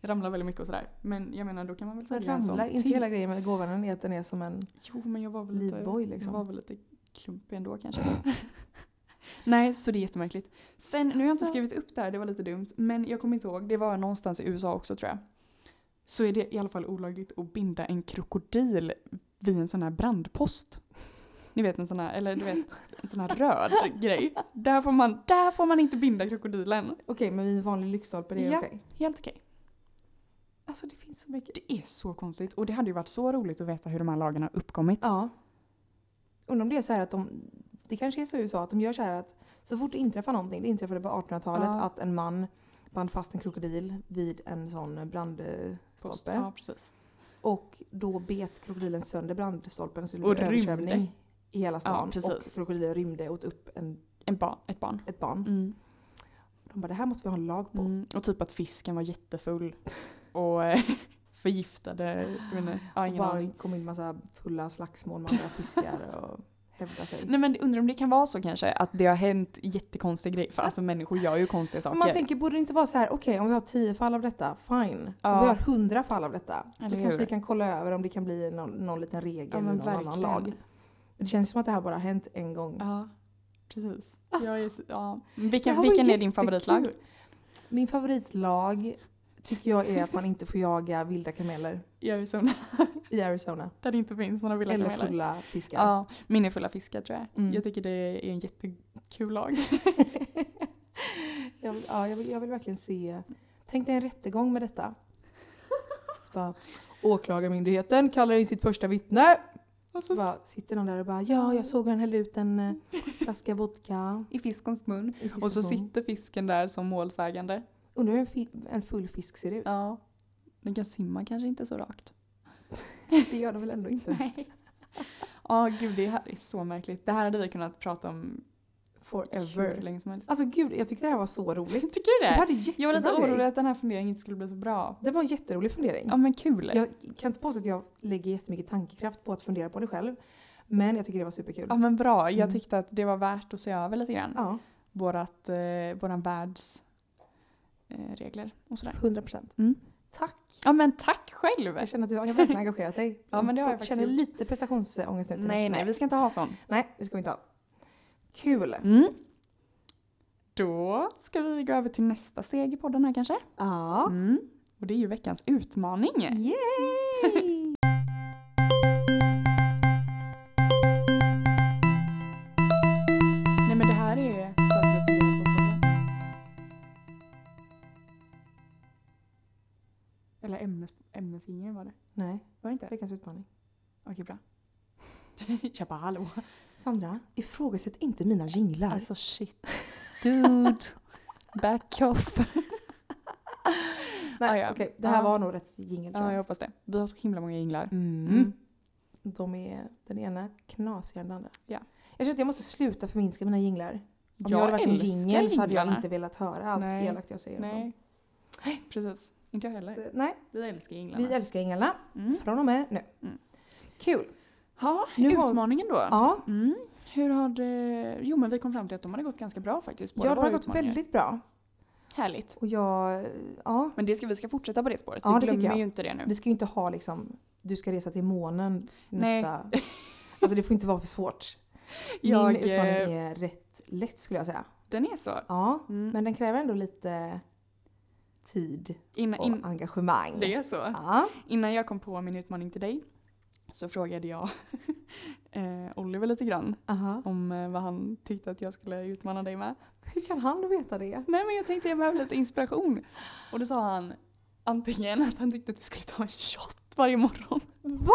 B: jag ramlar väldigt mycket och sådär. Men jag menar då kan man väl
A: Så
B: sälja en sån
A: ramlar, inte
B: till.
A: hela grejen med gåvagnen är att den är som en...
B: Jo, men jag var väl lite,
A: Livboj, liksom.
B: jag var väl lite klumpig ändå kanske. Nej, så det är jättemärkligt. Sen, nu har jag inte
A: Ja.
B: skrivit upp det här, det var lite dumt. Men jag kommer inte ihåg, det var någonstans i USA också tror jag. Så är det i alla fall olagligt att binda en krokodil vid en sån här brandpost. Ni vet en sån här, eller du vet, en sån här röd grej. Där får, man, där får man inte binda krokodilen.
A: Okej, men vid en vanlig lyktstolpe, det är
B: Ja.
A: okej.
B: Helt okej.
A: Alltså det finns så mycket.
B: Det är så konstigt och det hade ju varit så roligt att veta hur de här lagarna har uppkommit.
A: Ja. Undrar om det är så här att de... Det kanske är så i USA att de gör så här att så fort det inträffar någonting, det inträffade på 1800-talet
B: Ja.
A: att en man band fast en krokodil vid en sån brandstolpe.
B: Ja, precis.
A: Och då bet krokodilen sönder brandstolpen så det
B: Och
A: blev översvämning
B: rymde.
A: i hela stan. och
B: precis.
A: krokodilen rymde och åt upp en,
B: En ba- ett barn.
A: ett barn.
B: Mm.
A: De bara, det här måste vi ha en lag på.
B: Mm, och typ att fisken var jättefull och eh, förgiftade, jag vet inte, ja,
A: och
B: ingen
A: bara
B: aning.
A: kom in massa fulla slagsmål med andra fiskar och hävdade sig.
B: Nej men undrar om det kan vara så kanske, att det har hänt jättekonstiga grejer. För alltså människor gör ju konstiga
A: Men
B: saker.
A: man tänker, borde det inte vara så här, okej om vi har tio fall av detta, fine. Om
B: Ja.
A: vi har hundra fall av detta,
B: Eller
A: då kanske
B: hur?
A: vi kan kolla över om det kan bli någon, någon liten regel
B: ja,
A: i någon
B: men verkligen.
A: annan lag. Det känns som att det här bara har hänt en gång.
B: Ja, precis.
A: Alltså.
B: Jag är så, ja.
A: Det här
B: Vilken,
A: var
B: vilken är din
A: jättekul.
B: favoritlag?
A: Min favoritlag tycker jag är att man inte får jaga vilda kameler
B: I Arizona,
A: i Arizona.
B: där det inte finns några vilda
A: Eller
B: kameler.
A: fulla fiskar.
B: Ja, min är fulla fiskar tror jag.
A: Mm.
B: Jag tycker det är en jättekul lag.
A: jag, vill, ja, jag, vill, jag vill verkligen se. Tänk dig en rättegång med detta. Bara, Åklagarmyndigheten kallar in sitt första vittne.
B: Och så
A: Bara, sitter någon där och bara ja, jag såg hur han hällde ut en eh, flaska vodka.
B: i fiskens mun.
A: i
B: Och så
A: fiskkorn."
B: sitter fisken där som målsägande.
A: Undrar hur en, fi- en full fisk ser ut.
B: Ja. Den kan simma kanske inte så rakt.
A: Det gör de väl ändå inte?
B: Nej. Ja, gud det här är så märkligt. Det här hade vi kunnat prata om hur
A: Forever.
B: länge som helst.
A: Alltså gud, jag tyckte det här var så roligt.
B: Tycker du
A: Det
B: det?
A: här är
B: Jag var lite
A: jättebra grej.
B: orolig att den här funderingen inte skulle bli så bra.
A: Det var en jätterolig fundering.
B: Ja men kul.
A: Jag kan inte påstå att jag lägger jättemycket tankekraft på att fundera på det själv. Men jag tycker det var superkul.
B: Ja men bra. Jag
A: Mm.
B: tyckte att det var värt att se över lite grann.
A: Ja,
B: Vårat, eh, våran världs eh, regler och sådär.
A: 100 procent.
B: Mm.
A: Tack!
B: Ja men tack själv!
A: Jag känner att du har verkligen engagerat dig.
B: Ja, men det har jag
A: jag
B: faktiskt
A: känner
B: gjort.
A: lite prestationsångest nu.
B: Nej nej vi ska inte ha sån.
A: Nej, det ska vi inte ha. Kul!
B: Mm. Då ska vi gå över till nästa steg i podden här kanske.
A: Ja.
B: Mm. Och det är ju veckans utmaning.
A: Yay!
B: Nej men det här är saker att fundera på podden. Eller ämnes, ämnesingen var det.
A: Nej,
B: Var det inte?
A: veckans utmaning.
B: Okej bra. Jag bara hallå.
A: Sandra, ifrågasätt inte mina jinglar.
B: Alltså shit. Dude. Back off.
A: Nej,
B: ah, ja.
A: okej, det här
B: Ja.
A: var nog rätt jingel tror
B: Ja jag
A: jag.
B: hoppas det. Vi har så himla många jinglar.
A: Mm.
B: Mm.
A: De är den ena knasigare än den andra.
B: Ja.
A: Jag känner att jag måste sluta förminska mina jinglar. Om
B: Jag,
A: jag hade varit en
B: älskar
A: jingel så hade jag
B: jinglarna.
A: inte velat höra allt
B: Nej.
A: elakt jag säger. om dem.
B: Nej. Precis. Inte jag heller.
A: Eh, Nej,
B: Vi älskar jinglarna.
A: vi älskar änglarna.
B: Mm.
A: Från och med nu.
B: Mm.
A: Kul!
B: Ja,
A: Nu har-
B: utmaningen då.
A: Ja,
B: Mm. Hur har det... Jo men vi kom fram till att de hade gått ganska bra faktiskt. båda
A: ja det har
B: våra
A: gått
B: utmaningar.
A: väldigt bra.
B: Härligt.
A: Och jag, ja.
B: Men det ska, vi ska fortsätta på det spåret.
A: Ja, det
B: vi
A: tycker
B: glömmer
A: jag.
B: ju inte det nu.
A: Vi ska ju inte ha liksom, du ska resa till månen
B: Nej.
A: nästa... Alltså det får inte vara för svårt.
B: Jag,
A: Min utmaning
B: eh,
A: är rätt lätt skulle jag säga.
B: Den är så.
A: Ja,
B: Mm.
A: men den kräver ändå lite tid
B: Innan,
A: och
B: in,
A: engagemang.
B: det är så.
A: Ja.
B: Innan jag kom på min utmaning till dig så frågade jag eh, Oliver lite grann
A: Aha.
B: om eh, vad han tyckte att jag skulle utmana dig med.
A: Hur kan han veta det?
B: Nej men jag tänkte jag behöver lite inspiration. Och då sa han antingen att han tyckte att du skulle ta en shot varje morgon.
A: Va?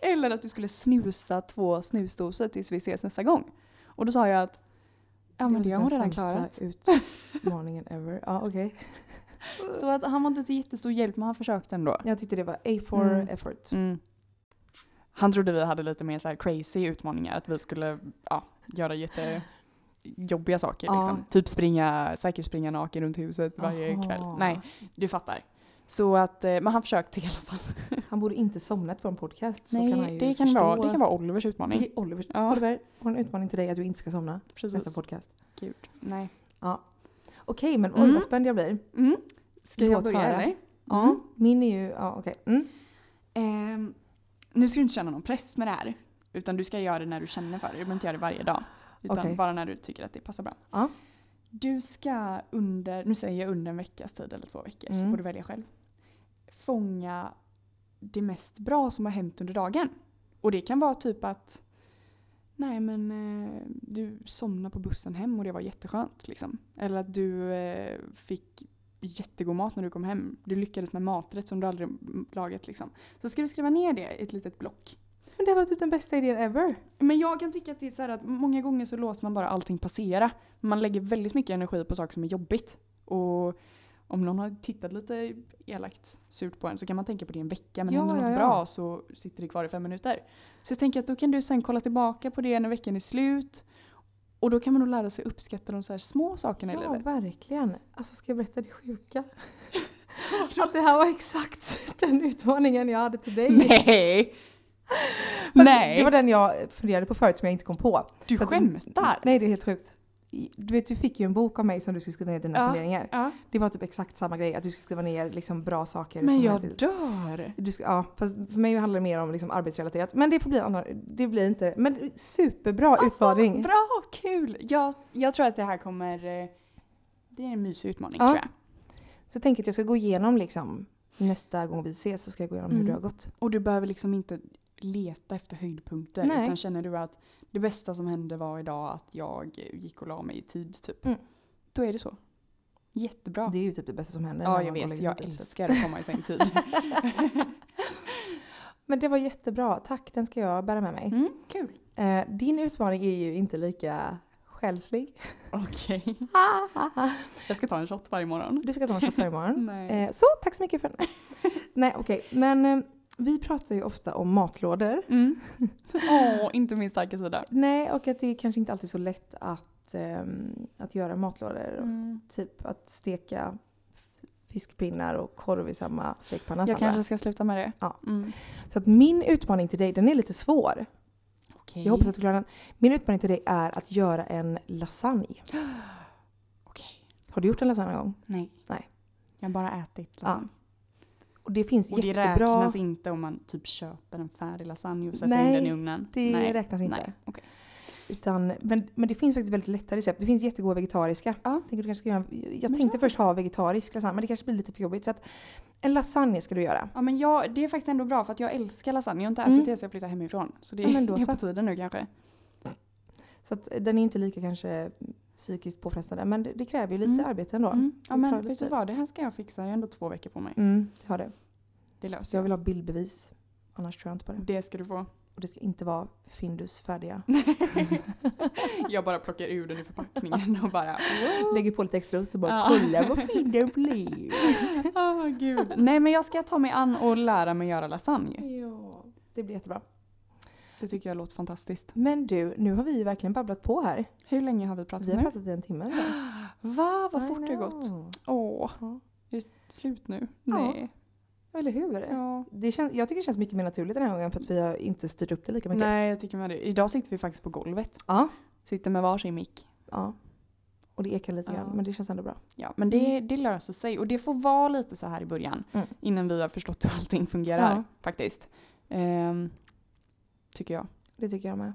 B: Eller att du skulle snusa två snusdosor tills vi ses nästa gång. Och då sa jag att Ja men det har hon
A: den
B: redan
A: sämsta
B: klarat.
A: utmaningen ever. Ja okej.
B: Så att han var inte till jättestor hjälp men han försökte ändå.
A: Jag tyckte det var A for
B: Mm.
A: effort.
B: Mm. Han trodde vi hade lite mer så här crazy utmaningar, att vi skulle ja, göra jättejobbiga saker.
A: Ja.
B: Liksom. Typ springa, säkert springa naken runt huset varje
A: Aha.
B: kväll. Nej, du fattar. Så att, eh, men han försökte i alla fall.
A: Han borde inte somnat på en podcast. så
B: Nej,
A: kan han ju
B: det, kan
A: förstå.
B: vara, det kan vara Olivers utmaning.
A: Det är Oliver.
B: Ja.
A: Oliver, har en utmaning till dig att du inte ska somna. Nästa
B: Precis.
A: podcast.
B: Gud. Nej.
A: Okej men oj
B: Mm.
A: vad spänd jag blir.
B: Mm. Ska jag
A: Låt
B: börja
A: höra. Mm.
B: eller?
A: Ja. Min är ju, ja okej. Mm.
B: Ehm, nu ska du inte känna någon press med det här. Utan du ska göra det när du känner för det. Du behöver inte göra det varje dag. Utan
A: Okej.
B: bara när du tycker att det passar bra.
A: Ja.
B: Du ska under, nu säger jag under en veckas tid eller två veckor så
A: Mm.
B: får du välja själv. Fånga det mest bra som har hänt under dagen. Och det kan vara typ att Nej men eh, du somnade på bussen hem och det var jätteskönt. Liksom. Eller att du eh, fick jättegod mat när du kom hem. Du lyckades med maträtt som du aldrig mm, lagat. Liksom. Så ska du skriva ner det i ett litet block.
A: Men det var typ den bästa idén ever.
B: Men jag kan tycka att det är så här att många gånger så låter man bara allting passera. Man lägger väldigt mycket energi på saker som är jobbigt. Och om någon har tittat lite elakt surt på en så kan man tänka på det i en vecka. Men
A: Ja,
B: händer något
A: ja, ja.
B: bra så sitter det kvar i fem minuter. Så jag tänker att då kan du sen kolla tillbaka på det när veckan är slut. Och då kan man nog lära sig uppskatta de så här små sakerna i
A: Ja
B: livet.
A: verkligen. Alltså ska jag berätta det sjuka? Att det här var exakt den utmaningen jag hade till dig.
B: Nej!
A: Fast
B: Nej!
A: Det var den jag funderade på förut som jag inte kom på.
B: Du
A: Så att-
B: skämtar!
A: Nej det är helt sjukt. Du vet du fick ju en bok av mig som du skulle skriva ner dina
B: Ja.
A: funderingar.
B: Ja.
A: Det var typ exakt samma grej, att du skulle skriva ner liksom bra saker.
B: Men
A: som
B: jag
A: hände.
B: dör!
A: du ska, ja, fast för mig handlar det mer om liksom arbetsrelaterat. Men det får bli annan, det blir inte, men superbra utmaning.
B: Alltså, Bra, kul! Jag, jag tror att det här kommer... eh, Det är en mysig utmaning
A: Ja.
B: tror jag.
A: Så jag tänker att jag ska gå igenom liksom nästa gång vi ses så ska jag gå igenom hur
B: Mm.
A: det har gått.
B: Och du behöver liksom inte leta efter höjdpunkter.
A: Nej.
B: Utan känner du att det bästa som hände var idag att jag gick och la mig i tid typ.
A: Mm.
B: Då är det så. Jättebra.
A: Det är ju typ det bästa som händer. när
B: ja, jag
A: man går och
B: vet.
A: lägger
B: Jag
A: sig typ.
B: älskar att komma i säng tid.
A: Men det var jättebra, tack. Den ska jag bära med mig.
B: Mm, kul.
A: Eh, din utmaning är ju inte lika själslig.
B: Okej. Jag ska ta en shot varje morgon.
A: du ska ta en shot här imorgon.
B: Nej.
A: Mm. Eh, så, tack så mycket för den. Nej okej, men eh, vi pratar ju ofta om matlådor.
B: Mm. Åh, inte min starka sida.
A: Nej, och att det kanske inte alltid är så lätt att, ehm, att göra matlådor.
B: Mm.
A: Typ att steka fiskpinnar och korv i samma stekpanna.
B: Jag
A: Sandra.
B: kanske ska sluta med det.
A: Ja.
B: Mm.
A: Så att min utmaning till dig, den är lite svår.
B: Okej.
A: Jag
B: Mm.
A: hoppas att du klarar den. Min utmaning till dig är att göra en lasagne.
B: Okej.
A: Har du gjort en lasagne någon gång?
B: Nej.
A: Nej.
B: Jag har bara ätit liksom.
A: Ja,
B: lasagne.
A: Och det finns
B: och det
A: jättebra...
B: räknas inte om man typ köper en färdig lasagne och sätter in
A: Nej,
B: den i ugnen.
A: Det
B: Nej.
A: räknas inte.
B: Nej. okej.
A: Utan, men, men det finns faktiskt väldigt lätta recept. Det finns jättegoda vegetariska.
B: Ja.
A: Tänker du kanske ska göra, en- jag
B: Men
A: tänkte
B: ja.
A: först ha vegetarisk lasagne men det kanske blir lite för jobbigt. Så att en lasagne ska du göra.
B: Ja men jag, det är faktiskt ändå bra för att jag älskar lasagne. Jag har inte
A: Mm.
B: ätit det sedan jag flyttade hemifrån. Så det
A: Ja, men då
B: är
A: så.
B: på tiden nu kanske.
A: Så att den är inte lika kanske psykiskt påfrestande men det, det kräver ju lite
B: Mm.
A: arbete ändå.
B: Mm. Ja
A: det
B: men
A: tar lite
B: vet du
A: tid.
B: vad, det här ska jag fixa. Jag har ändå två veckor på mig.
A: Mm, det har det.
B: Det
A: Så
B: löser
A: jag
B: jag.
A: vill ha bildbevis. Annars tror jag inte på det.
B: Det ska du få.
A: Och det ska inte vara Findus färdiga.
B: jag bara plockar ur den i förpackningen och bara...
A: Lägger på lite extra ost och bara
B: Ja.
A: kolla vad fin den blev.
B: Åh gud. Nej men jag ska ta mig an och lära mig göra lasagne.
A: ja, det blir jättebra.
B: Det tycker jag låter fantastiskt.
A: Men du, nu har vi ju verkligen babblat på här.
B: Hur länge har vi pratat
A: Vi har
B: nu?
A: pratat i en timme. nu.
B: Va? Vad
A: I
B: fort det har gått.
A: know.
B: Åh,
A: Ja.
B: är det slut nu?
A: Ja.
B: Nej.
A: Eller hur?
B: Ja.
A: Det kän, jag tycker det känns mycket mer naturligt den här gången för att vi har inte styrt upp det lika mycket.
B: Nej, jag tycker med det. Idag sitter vi faktiskt på golvet.
A: Ja.
B: Sitter med varsin mick.
A: Ja. Och det ekar lite
B: Ja.
A: grann men det känns ändå bra.
B: Ja, men det, det löser sig. Och det får vara lite så här i början.
A: Mm.
B: Innan vi har förstått hur allting fungerar
A: Ja.
B: faktiskt. Ehm, tycker jag.
A: Det tycker jag med.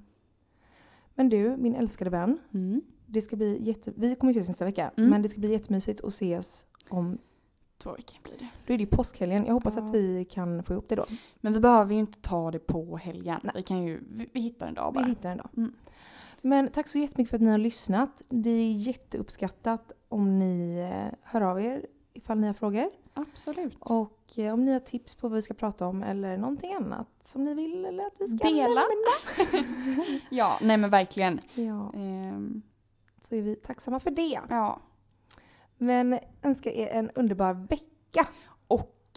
A: Men du, min älskade vän.
B: Mm.
A: Det ska bli jätte, vi kommer ju ses nästa vecka
B: Mm.
A: men det ska bli jättemysigt att ses om,
B: Två veckor blir det.
A: då är det ju påskhelgen. Jag hoppas
B: Ja.
A: att vi kan få ihop det då.
B: Men vi behöver ju inte ta det på helgen.
A: Nej.
B: Vi kan ju, vi, vi hittar en dag
A: Vi
B: bara.
A: hittar en dag.
B: Mm.
A: Men tack så jättemycket för att ni har lyssnat. Det är jätteuppskattat om ni eh, hör av er ifall ni har frågor.
B: Absolut.
A: Och eh, om ni har tips på vad vi ska prata om eller någonting annat som ni vill eller att vi ska
B: Dela.
A: nämna.
B: Ja, nej men verkligen.
A: Ja,
B: Ehm,
A: så är vi tacksamma för det.
B: Ja.
A: Men önskar er en underbar vecka.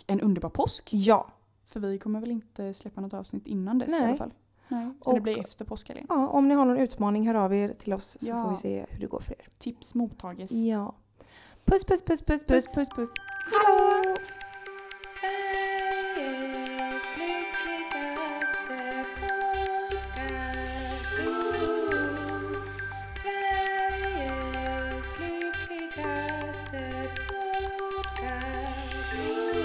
B: En underbar påsk.
A: Ja.
B: För vi kommer väl inte släppa något avsnitt innan dess
A: Nej.
B: i alla fall. Nej. Så det
A: Och-
B: blir efter påskhelgen.
A: ja. Om ni har någon utmaning hör av er till oss så
B: Ja.
A: får vi se hur det går för er.
B: Tips mottages.
A: Ja. Puss puss puss puss
B: Puss
A: puss.
B: puss puss.
A: Hallå!
E: Sveriges lyckligaste podcast. Sveriges lyckligaste podcast.